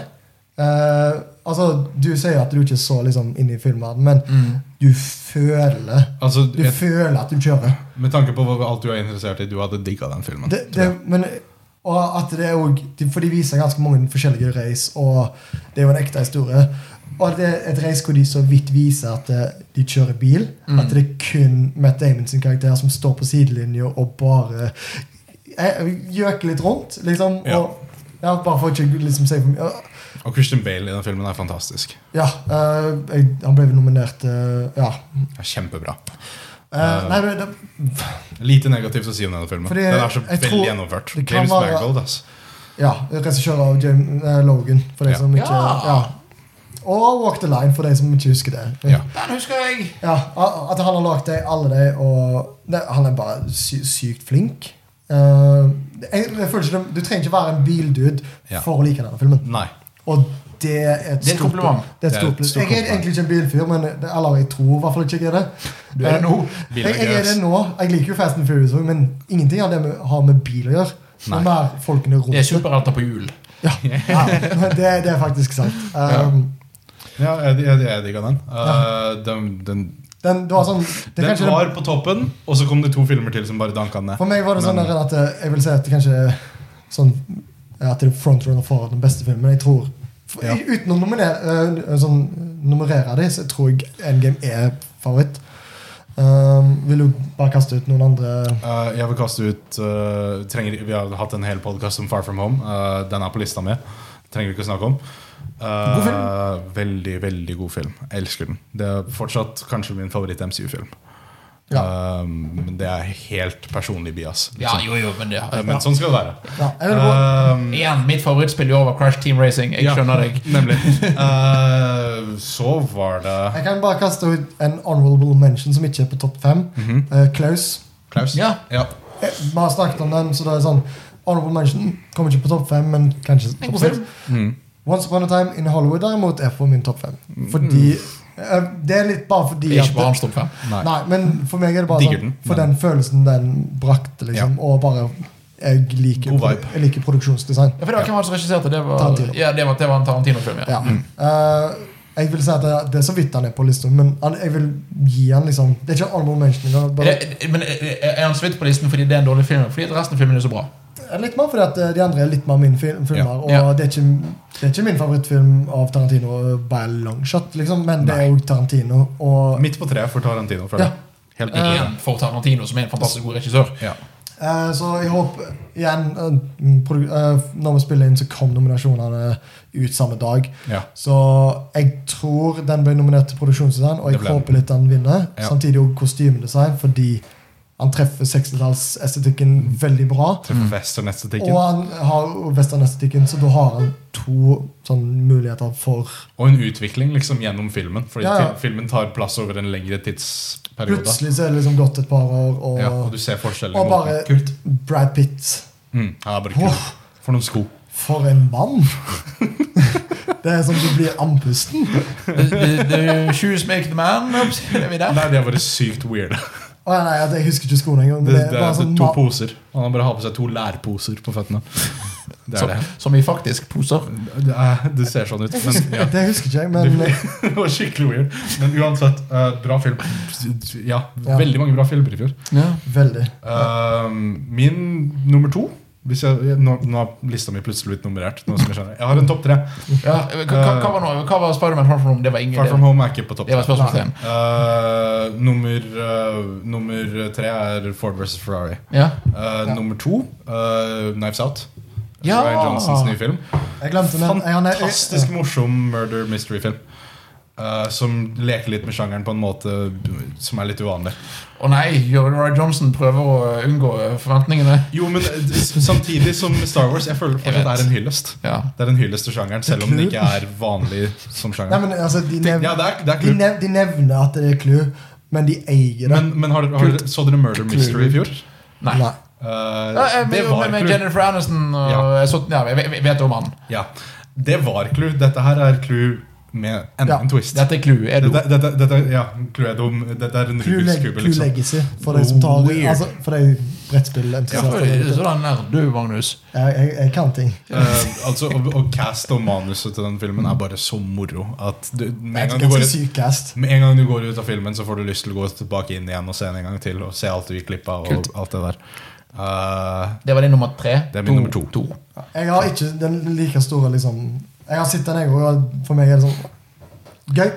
eh, Altså, du sier at du ikke så liksom inn i filmen, men
Mm.
du føler
Altså,
Du
jeg,
føler at du kjører.
med tanke på hva- alt du er interessert i, du hadde digga den filmen.
Det, det, men, og at det er også, For de viser ganske mange forskjellige race, og det er jo en ekte historie. Og det er et race hvor de så vidt viser at eh, de kjører bil. At det er kun Matt Damon sin karakter som står på sidelinja og bare eh, gjøker litt rundt. liksom
Ja.
Og, ja, Bare for ikke liksom, si for mye. Ja,
Og Christian Bale i den filmen er fantastisk.
Ja, eh, jeg, han ble vel nominert eh, Ja.
Det er Kjempebra.
Eh, nei, men det,
Lite negativt å si om denne filmen.
Fordi
den er så
jeg
veldig
tror-
gjennomført.
det kan
James
være-
Mangold, ass.
Ja, regissør av Jam- eh, Logan, for de
Ja.
som ikke ja.
Ja.
Og Walk the Line, for de som ikke husker det.
Ja.
Den husker jeg.
Ja, a- At han har lagd de, alle de, og det, han er bare sy sykt flink. Eh, jeg, jeg føler ikke det, Du trenger ikke være en bildude
Ja.
for å like denne filmen.
Nei.
Og det er et
Det er et
stort-
kompliment.
Det er et
Det er
stort
et
pluss.
stort
Jeg er
kompliment.
egentlig ikke en bilfyr, men det, eller jeg tror i hvert fall ikke jeg er det.
Du er det
Eh,
nå.
Bilen
jeg,
er
jeg er
grøs.
det nå. Jeg liker jo Fast and Furious også, men ingenting av det med- har med bil å gjøre. Det
Nei.
er mer folkene rundt.
Det er superhelter på hjul.
Ja, ja men det, det er faktisk sant. Um,
Ja, jeg, jeg, jeg digga den. Eh, den, den,
den, det var sånn det er
den
kanskje
var på toppen, og så kom det to filmer til som bare danka den
det,
ned.
For meg var det sånn
Men-
der at eh, jeg vil si at det kanskje er sånn eh, At det er frontrunner for den beste filmen. Jeg tror for,
Ja.
Uten å nominere, eh, sånn, nummerere de, så tror jeg Endgame er favoritt. Um, vil du bare kaste ut noen andre
Eh, jeg vil kaste ut eh, trenger, Vi har hatt en hel podkast om Far From Home. Eh, den er på lista mi. Trenger vi ikke å snakke om. Eh, Veldig, veldig god film. Jeg elsker den. Det er fortsatt kanskje min favoritt-MCU-film. Um, men det er helt personlig bias.
Ja,
liksom.
jo, jo, men det
Eh, Men sånn skal det være.
Ja, jeg vil gå
Um,
Igjen, mitt favorittspill i år var Crash Team Racing. Jeg
ja,
skjønner deg.
Nemlig. Eh, så var det
Jeg kan bare kaste ut en honorable mention som ikke er på topp fem.
Mhm.
Eh, Klaus.
Klaus.
Ja.
ja.
Eh, Vi har snakket om den, så det er sånn Honorable mention kommer ikke på topp fem, men kanskje
En
topp
god
seks.
film.
Mm.
Once Upon a Time in Hollywood derimot er for min topp fem.
Mm.
Fordi eh, Det er litt bare fordi
Ikke på hans topp fem.
Nei.
Nei, men for meg er det bare
Digger
sånn,
den,
for
men-
den følelsen den brakte, liksom. Og bare Jeg liker,
God
produ-
vibe.
jeg liker produksjonsdesign.
Ja, for det var Hvem var det som regisserte? Det var,
Tarantino.
ja, det var, det var en Tarantino-film. ja.
Ja.
Mm.
Eh, jeg vil si at det, det er så vidt han er på lista, men han, jeg vil gi han liksom Det er ikke honorable mention. Det er
Er
bare,
det- Men er er han så vidt på listen fordi det er en dårlig film? Fordi resten av filmen er så bra?
Eh, Litt mer fordi at eh, de andre er litt mer min film, filmer. Og
Ja.
Det, er ikke, det er ikke min favorittfilm av Tarantino eh, by a long shot, liksom, men det er jo Tarantino. Og
Midt på treet for Tarantino. Føler.
Ja.
jeg. Helt nydelig.
Igjen for Tarantino, som er en fantastisk god regissør.
Ja.
Eh, så jeg håper igjen eh, produ- eh, Når vi spiller inn, så kom nominasjonene ut samme dag.
Ja.
Så jeg tror den ble nominert til produksjonsdesign, og jeg
Det ble den.
håper litt den vinner.
Ja.
Samtidig også kostymedesign, fordi han treffer 60-tallsestetikken
Mm.
veldig bra.
Treffer fest og nestetikken.
Mm. Og han har westernestetikken, så da har han to sånn, muligheter for
Og en utvikling liksom gjennom filmen. Fordi
Ja, ja.
til- filmen tar plass over en lengre tidsperiode.
Plutselig så er det liksom gått et par år, og,
Ja, og du ser forskjellen. i
og
måten.
bare Brad Pitt
mm, ja, bare kult. For noen sko.
For en mann! [laughs] det er som du blir andpusten.
The, the, the Shoes Make the Man. Er vi der?
Nei, det er bare sykt weird.
Å, ja, nei, jeg husker ikke skoene engang.
Det,
men
det,
Det, er bare
er altså
sånn
to
ma-
poser. Han bare har på seg to lærposer på
[laughs]
føttene. Det
Som,
er det.
som vi faktisk poser.
Det, er, det ser sånn ut. Men,
[laughs]
ja.
det husker ikke jeg, men
[laughs] Det var skikkelig weird. Men uansett, eh, bra film. Ja,
Ja.
veldig mange bra filmer i fjor.
Ja.
veldig.
Eh, min nummer to hvis jeg, nå, nå har lista mi plutselig blitt nummerert. Nå skal jeg skjønne. Jeg har en topp tre.
hva- hva, hva var, nå- hva var Spiderman Far From Home? Det var ingen
Eh, Far From
det,
Home er ikke på topp
det var
tre.
spørsmålstegn.
Eh, nummer, eh, nummer tre er Ford versus Ferrari.
Ja.
Eh, Nummer to eh, Knives Out.
Ja!
Ryan Johnsons nye film.
Jeg glemte den. Jeg, han er-
Fantastisk morsom murder mystery-film. eh, som leker litt med sjangeren på en måte som er litt uvanlig.
Å nei, Roy Johnson prøver å unngå forventningene.
Jo, men eh, s- samtidig som Star Wars, jeg føler
Jeg
fortsatt
vet.
det er en hyllest.
Ja.
Det er en hyllest til sjangeren, selv om den ikke er vanlig som
Nei,
sjanger.
men altså, de, nev
Ja, det er, det er
de,
kult.
nev de nevner at det er Clue, men de eier det.
Men, men har, dere- har, dere- så dere Murder Mystery i fjor?
Nei.
Nei.
Eh,
Ja, jeg-
det
men-
var
men- men
kult.
Jennifer Aniston og
Ja.
jeg, så, ja, jeg, jeg vet om han.
Ja, det var Clue. Dette her er Clue med enda
Ja,
en twist.
Dette er Clue. Er du?
Dette, dette, dette, ja, Clue er dum. Dette er en
Clue,
Rubiks
leg
kube,
Clue
liksom.
Legacy, for de som tar
Weird.
altså, For de brettspillinteresserte. jeg,
Sånn er du, Magnus.
jeg, jeg kan ting.
Eh, altså, og, og cast og manuset til den filmen er bare så moro at du,
Det
med, en
er et
gang du går
ganske
ut,
sykt cast.
med en gang du går ut av filmen, så får du lyst til å gå tilbake inn igjen og se den en gang til. Og se alt du gikk glipp av.
Kult.
Og alt det der Eh,
Det var din nummer tre.
Det er min nummer to.
Jeg har ikke den like store liksom Jeg har sett den, jeg òg, og for meg er det sånn gøy.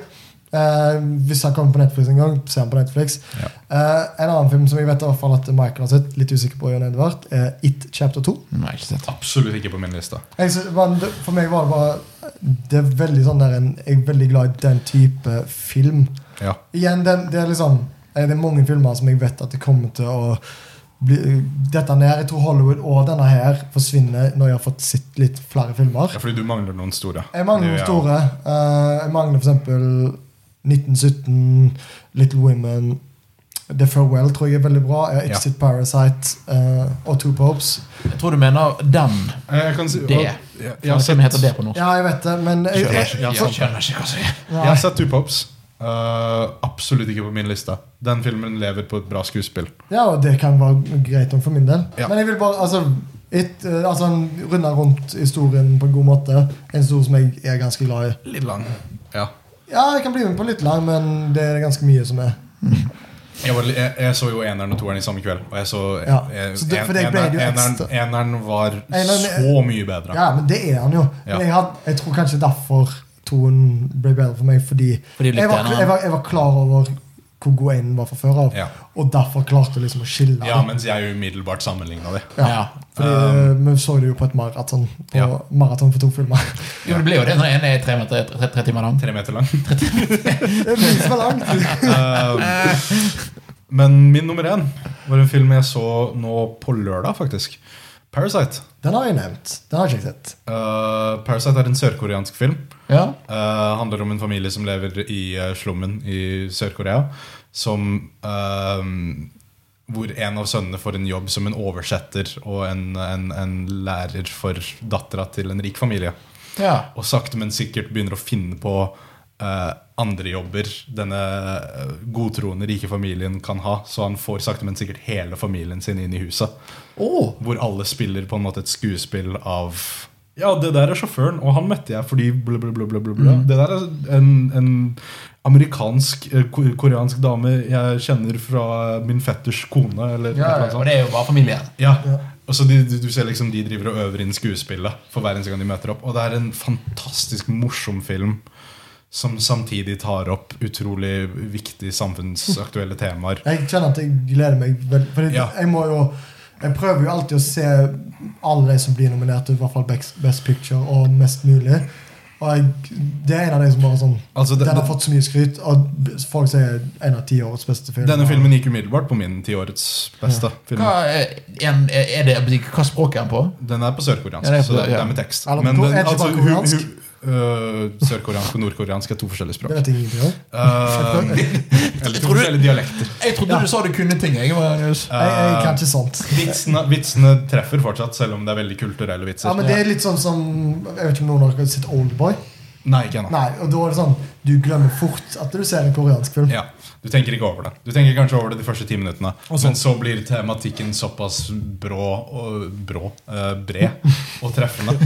Eh, hvis han kommer på Netflix en gang, ser han på Netflix. Eh, en annen film som jeg vet i hvert fall at Michael har sett, litt usikker på Jon Edvard, er It Chapter 2.
Nei, ikke sett.
Absolutt ikke på min liste.
Jeg synes, men det- for meg var det bare Det er veldig sånn der en, Jeg er veldig glad i den type film.
Ja.
Igjen, den, det er liksom eh, Det er mange filmer som jeg vet at det kommer til å bli, eh, Dette ned, Jeg tror Hollywood og denne her forsvinner når jeg har fått sett litt flere filmer.
ja, fordi du mangler noen store.
Jeg
Det
mangler noen
er-
store. Eh, jeg mangler f.eks. 1917, Little Women, The Farewell tror jeg er veldig bra. Jeg har
Ja.
Exit Parasite eh, og Two Popes.
Jeg tror du mener den.
Eh, Jeg kan si,
Det.
og- jeg, jeg
Ja,
har
Hvem
sett
heter det på norsk?
Ja, jeg vet det, men jeg,
Skjønner.
jeg,
Ja, sant.
skjønner ikke hva som er.
Jeg har
nei,
sett Two Pops. Eh, absolutt ikke på min liste. Den filmen lever på et bra skuespill.
ja, og det kan være greit om for min del.
Ja.
Men jeg vil bare altså, et, eh, altså runde rundt historien på en god måte. En historie som jeg er ganske glad i.
Litt lang. Ja.
Ja, jeg kan bli med på litt lang, men det er ganske mye som er
Jeg, var, jeg, jeg så jo eneren og toeren i samme kveld. Og jeg så,
Ja.
jeg,
Så det- for det
en-
ble
eneren,
jo
eneren,
ekstra.
eneren var
Eneren-
så mye bedre.
Ja, men det er han jo.
Ja.
Men jeg, had, jeg tror kanskje derfor tonen ble bedre for meg. Fordi,
Fordi du likte
jeg, var,
en annen.
jeg, var, jeg var klar over hvor god enen var fra før av.
Ja.
Og derfor klarte jeg liksom å skille.
Ja,
det.
mens jeg umiddelbart sammenligna de.
Ja.
Ja.
Fordi eh, Vi så det jo på et maraton På
Ja.
maraton for to filmer. [laughs]
Jo, det blir jo det når en er tre, meter, tre, tre, tre timer lang.
Tre meter lang.
det blir ikke så langt.
Eh, Men min nummer én var en film jeg så nå på lørdag, faktisk. Parasite.
Den har jeg nevnt. Den har jeg ikke sett.
Eh, Parasite er en sørkoreansk film.
Ja.
Eh, handler om en familie som lever i eh, slummen i Sør-Korea. Som eh, Hvor en av sønnene får en jobb som en oversetter og en, en, en lærer for dattera til en rik familie.
ja.
Og sakte, men sikkert begynner å finne på eh, andre jobber denne eh, godtroende rike familien kan ha. Så han får sakte, men sikkert hele familien sin inn i huset.
Å,
Hvor alle spiller på en måte et skuespill av Ja, det der er sjåføren, og han møtte jeg fordi bla, bla, bla, bla, bla, bla. Det der er en, en amerikansk, eh, ko- koreansk dame jeg kjenner fra min fetters kone. Eller
ja,
noe
ja.
sånt.
Og det er jo bare familien.
Ja, og så de, du, du ser liksom de driver og øver inn skuespillet for hver eneste gang de møter opp. Og det er en fantastisk morsom film som samtidig tar opp utrolig viktige samfunnsaktuelle temaer.
Jeg kjenner at jeg gleder meg veldig. Fordi
Ja.
jeg må jo Jeg prøver jo alltid å se alle de som blir nominert til i hvert fall Best, best Picture og Mest mulig. Og jeg, det er en av de som bare sånn
Altså, det-
Den har fått så mye skryt, og b- folk sier en av tiårets beste film.
Denne filmen gikk umiddelbart på min tiårets beste film.
Hva er, en, er det, hva språk er den på?
Den er på sørkoreansk,
Ja, det er på-
så det
ja.
er med tekst. altså,
Er det på to- er det ikke bare
hu- hu-
koreansk?
øh, sørkoreansk og nordkoreansk er to forskjellige
[laughs] Det
språk.
vet jeg ingenting om.
Uh, eller to
Tror du-
forskjellige dialekter.
Jeg trodde du sa du kunne ting. Jeg, Marius.
Eh,
Jeg, jeg kan ikke sånt.
Vitsene, vitsene treffer fortsatt, selv om det er veldig kulturelle vitser.
Ja, men Det er litt sånn som Jeg vet ikke om noen av dere har sett Oldboy?
Nei, ikke ennå.
Nei, og da er det sånn Du glemmer fort at du ser en koreansk film.
Ja, Du tenker ikke over det. Du tenker kanskje over det de første ti minuttene. Men så blir tematikken såpass brå og brå, eh, bred og treffende.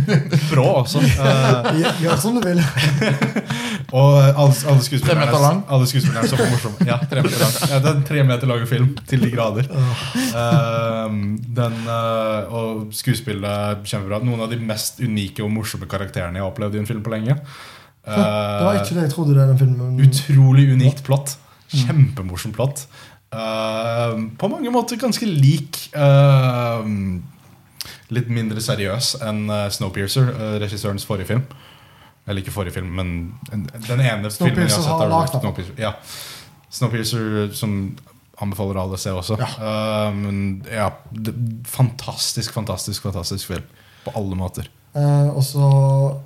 Brå også. eh,
Gjør- Gjør som du vil.
og alle, alle
Tre
skuespillerne
meter lang.
Alle skuespillerne er så morsomme. Ja, tre meter lang. Ja, det er en tre meter lang film til de grader. Eh, den, eh, og skuespillet er kjempebra. Noen av de mest unike og morsomme karakterene jeg har opplevd i en film på lenge. Eh,
Det var ikke det jeg trodde det den filmen
Mm. Utrolig unikt plott. Kjempemorsomt plott. Eh, på mange måter ganske lik eh, Litt mindre seriøs enn eh, Snowpiercer, eh, regissørens forrige film. Eller ikke forrige film, men en- den ene filmen jeg har
Snowpiercer
sett.
har
Er
lagt den.
Snowpiercer, ja. Snowpiercer eh, som anbefaler alle å se også. Eh, men ja, d- fantastisk, fantastisk, fantastisk film. På alle måter.
Eh, og så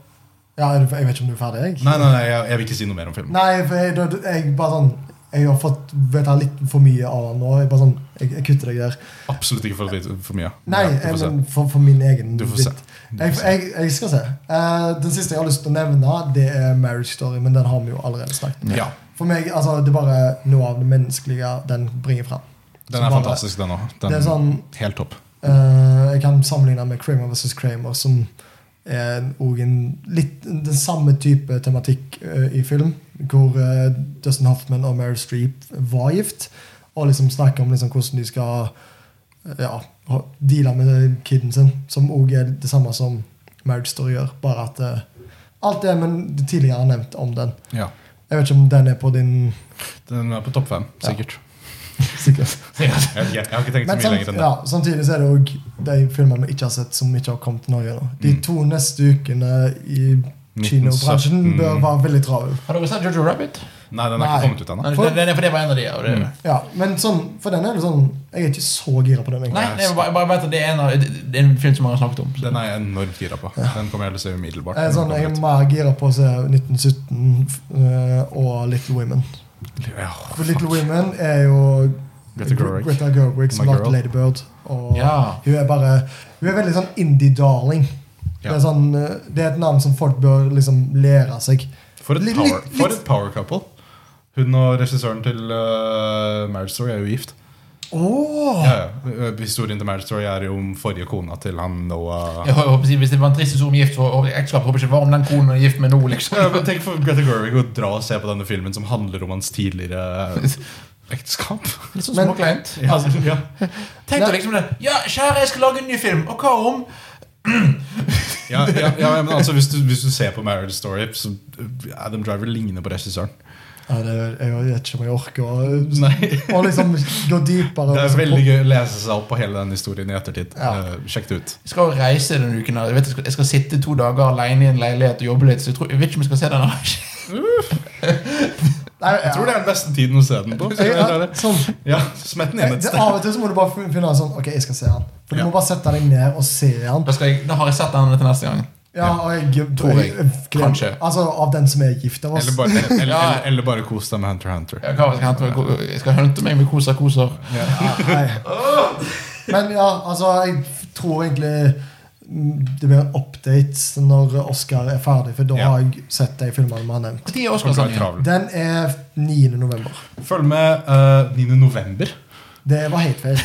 ja, er du- Jeg vet ikke om du er ferdig? jeg?
Nei, nei, nei jeg, jeg vil ikke si noe mer om filmen.
Nei, for jeg, da- jeg bare sånn Jeg har fått vite litt for mye av den nå. Jeg bare sånn, jeg, jeg kutter deg der.
Absolutt ikke for, å vite for mye.
Nei,
Ja, vi
jeg,
får se.
men for, for min egen
Du får se.
bit. Jeg, jeg, jeg skal se. Eh, den siste jeg har lyst til å nevne, det er Marriage Story. Men den har vi jo allerede snakket om.
Ja.
For meg, altså, Det er bare noe av det menneskelige den bringer fram.
Den
Så
er
bare-
fantastisk, den òg.
Det er sånn,
Helt topp.
eh, jeg kan sammenligne den med Kramer versus Kramer, som er en- og en litt den samme type tematikk eh, i film, hvor eh, Dustin Hoffman og Meryl Streep var gift, og liksom snakker om liksom hvordan de skal eh, ja, ha- deale med kiden sin, som òg er det samme som Marriage Story gjør, bare at eh, alt det men det tidligere er nevnt om den.
Ja.
Jeg vet ikke om den er på din [laughs]
Den er på topp fem, sikkert.
sikkerhet.
Sikkert.
[laughs] Jeg, jeg, jeg har ikke tenkt så
Men
mye
samt,
lenger enn det.
ja, samtidig så er det òg de filmene vi ikke har sett, som ikke har kommet til Norge nå.
Mm.
De to neste ukene i
1917.
kinobransjen bør være veldig travel.
Har dere sett Jojo Rabbit?
Nei, den er
Nei.
ikke kommet ut ennå.
Nei, for, det, for det var en av de. Og det,
Ja, men sånn, for den er det sånn Jeg er ikke så gira på den.
Nei,
egentlig.
det er bare, jeg bare vet at det er en, av, det er en film som mange har snakket om.
Den er jeg enormt gira på. Den kommer jeg til å se umiddelbart.
Jeg er, sånn, jeg er mer gira på å se 1917 f- og Little Women.
Ja,
For Little Women er jo
Greta Gerwig.
Greta Gerwig som
My
lagde
girl.
Lady Bird. Og
Ja.
hun er bare Hun er veldig sånn indie-darling. Det,
Ja.
er sånn, eh, det er et navn som folk bør liksom lære seg.
for, et
Litt-
power,
litt-
for
litt-
et power couple. Hun og regissøren til eh, Marriage Story er jo gift.
Oh.
Ja, ja. Eh, Historien til Marriage Story er jo om forrige kona til han Noah
Jeg håper, å si, hvis det var en trist historie om gift og og ekteskap, håper jeg ikke det var om den konen er gift med nå. liksom.
ja, men Tenk for Greta Gerwig å dra og se på denne filmen som handler om hans tidligere eh, ekteskap.
Litt sånn
Men-
småkleint.
Ja, ja.
Tenk deg liksom det. Ja, kjære, jeg skal lage en ny film. Og hva om
ja, ja, ja, men altså hvis du, hvis du ser på Marriage Story, så eh, Adam Driver ligner på regissøren.
Ja, det er, jeg vet ikke om jeg orker å
Nei.
å liksom gå
Det
dypere. og
er
liksom-
veldig gøy å lese seg opp på hele den historien i ettertid.
Ja.
Eh, Sjekk det ut.
Jeg skal jo reise denne uken. her. Jeg, vet, jeg, skal, jeg skal sitte to dager alene i en leilighet og jobbe litt. Så jeg, tror, jeg vet ikke om jeg skal se den. her.
Nei,
Jeg tror det er den beste tiden å se den på. skal jeg være
[laughs] ja,
ærlig.
sånn.
Ja, smett den inn et
Det,
sted.
av og til så må du bare fin- finne en sånn Ok, jeg skal se han. For Du
Ja.
må bare sette deg ned og se han.
Da, skal jeg, da har jeg sett den til neste gang.
Ja, og jeg,
Tror jeg.
glem-
Kanskje.
Altså, av den som er gift av oss.
Eller bare, eller,
Ja.
eller, eller bare kos deg med Hunter x Hunter.
Ja, hva skal jeg, hente meg? jeg skal hunte meg med koser koser.
Nei. Men ja, altså, jeg tror egentlig mm, det blir en update når Oscar er ferdig, for da
Ja.
har jeg sett de filmene vi har nevnt.
Når er
Kommer til å
Oscar-sangen?
være
[laughs]
travel.
Den er 9. november.
Følg med eh, 9. november.
Det var helt feil.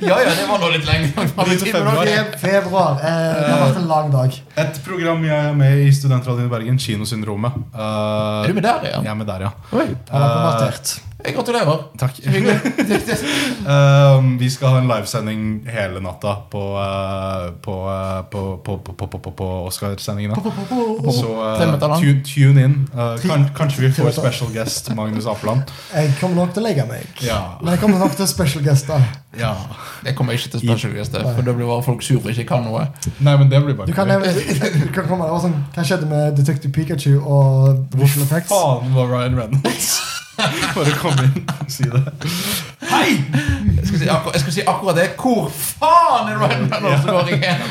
Ja, ja, det var nå
[laughs]
litt lenge. fram i tid, men
Februar.
ok.
Fe- Februar. Eh, det har vært en lang dag.
Et program jeg er med i Studentradioen i Bergen, Kinosyndromet. Eh,
Er du med der, ja?
Jeg er med der, ja.
Oi,
Han har
Eh,
konvertert.
jeg gratulerer.
Takk. [laughs]
Hyggelig.
Eh, vi skal ha en livesending hele natta på, eh, på, eh, på, på, på, på, på, på, på Oscar-sendingene. Så
Tre
eh,
meter lang.
tune, tune in. Eh, kan, kanskje vi
Tre
får
meter.
special guest Magnus Apeland.
Jeg kommer nok til å legge meg.
Ja.
Men jeg kommer nok til special guester.
Ja.
Det kommer jeg ikke til special guest, for da blir bare folk sur for jeg ikke kan noe.
Nei, men det blir bare
Du kan, nevne, [laughs] du kan komme, det var sånn, Hva skjedde med Detective Pikachu og Visual Effects?
Faen var Ryan Reynolds. [laughs] Bare kom inn og si det.
Hei! Jeg skal si, akkur jeg skal si akkurat det. Hvor faen er Ryan Reynolds som går
[laughs]
igjen?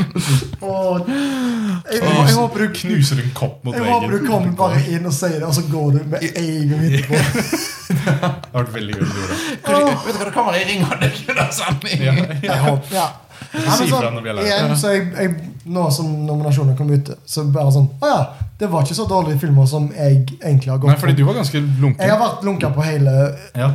Og jeg, jeg,
Knus-
jeg håper du
knuser en kopp mot
Jeg håper du kommer bare inn og sier det, og så går du med en gang etterpå.
Det har vært veldig gøy om du gjorde det.
Kanskje, vet du hva, det kan være jeg ringer deg under sending.
[laughs] Ja.
Jeg håper, ja. Nei, men
Si ifra
sånn,
når vi er lei.
igjen, så jeg, jeg, nå som nominasjonene kom ut, så bare sånn Å ja, det var ikke så dårlige filmer som jeg egentlig har
Nei,
gått
fordi
for.
du var ganske lunken.
Jeg har vært lunka på hele
Ja.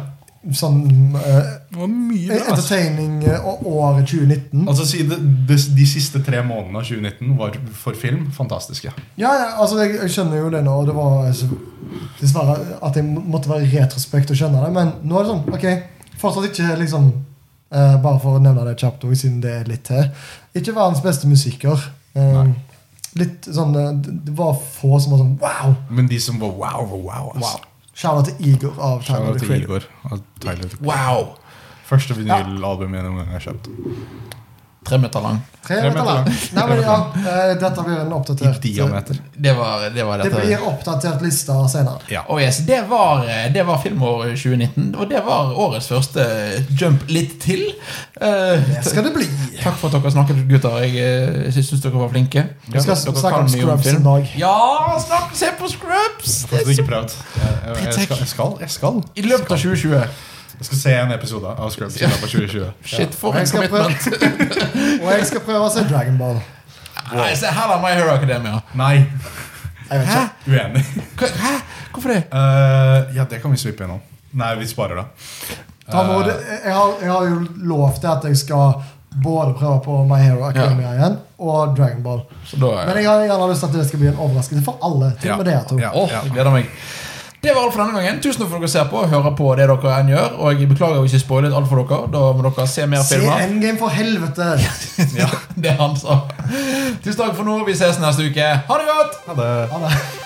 sånn eh,
Det var mye bra. altså. ass.
entertaining eh, og året 2019.
Altså, si det, de, de siste tre månedene av 2019 var for film fantastiske.
Ja, ja, altså, jeg, jeg skjønner jo det nå, og det var altså, dessverre at jeg må- måtte være retrospekt og skjønne det, men nå er det sånn Ok, fortsatt ikke liksom eh, Bare for å nevne det kjapt, også, siden det er litt til. Ikke verdens beste musiker. Eh,
Nei.
litt sånn eh, Det det var få som var sånn wow!
Men de som var wow, var wow. ass.
Shout-out til Igor av Tyler
Shout-out
The
til
Creator.
Igor. av Tyler. the-
Wow.
Første vinylalbumet jeg noen gang har kjøpt.
Tre meter lang.
Tre meter lang. Nei, men ja, eh, dette blir en
I
oppdatert
diameter.
Det var, det var
Det
dette.
blir oppdatert liste senere.
Ja.
Oh yes, det var, eh, det var filmåret 2019, og det var årets første jump litt til. Eh,
Det skal det bli.
takk for at dere snakket, gutter. Jeg uh, syns dere var flinke.
Vi skal
Dere
snakke
kan
om
mye om
Scrubs
film.
en dag.
Ja, snakk, se på Scrubs! Det
Fortsatt
er så-
ikke prøvd. Jeg, jeg, jeg, skal, jeg skal. Jeg skal
I løpet av 2020.
Jeg skal se en episode av Scrubs i løpet av
[laughs]
2020.
Shit, for
Jeg
en
skal prøve-
commitment.
Og jeg skal prøve [laughs] å se Dragon Ball.
Nei, se her, da. My Hero Academia.
Nei,
Jeg vet ikke.
uenig. [laughs]
Hva- Hæ? Hvorfor det?
Eh, ja, det kan vi svippe innom. Nei, vi sparer det.
Da må det,
Eh.
jeg, har, jeg har jo lovt deg at jeg skal både prøve på My Hero Academia igjen og Dragon Ball.
Så da
Men jeg har gjerne lyst til at det skal bli en overraskelse for alle. Til
Ja,
og med dere to.
ja.
Åh, jeg gleder meg. Det var alt for denne gangen. Tusen takk for at dere ser på og hører på det dere enn gjør. Og jeg beklager hvis jeg spoilet alt for dere. Da må dere se mer [laughs]
Se
filmer.
Endgame, for helvete!
[laughs]
Det er han sa. Tusen takk for nå. Vi ses neste uke. Ha det godt!
Ha det.
Ha det.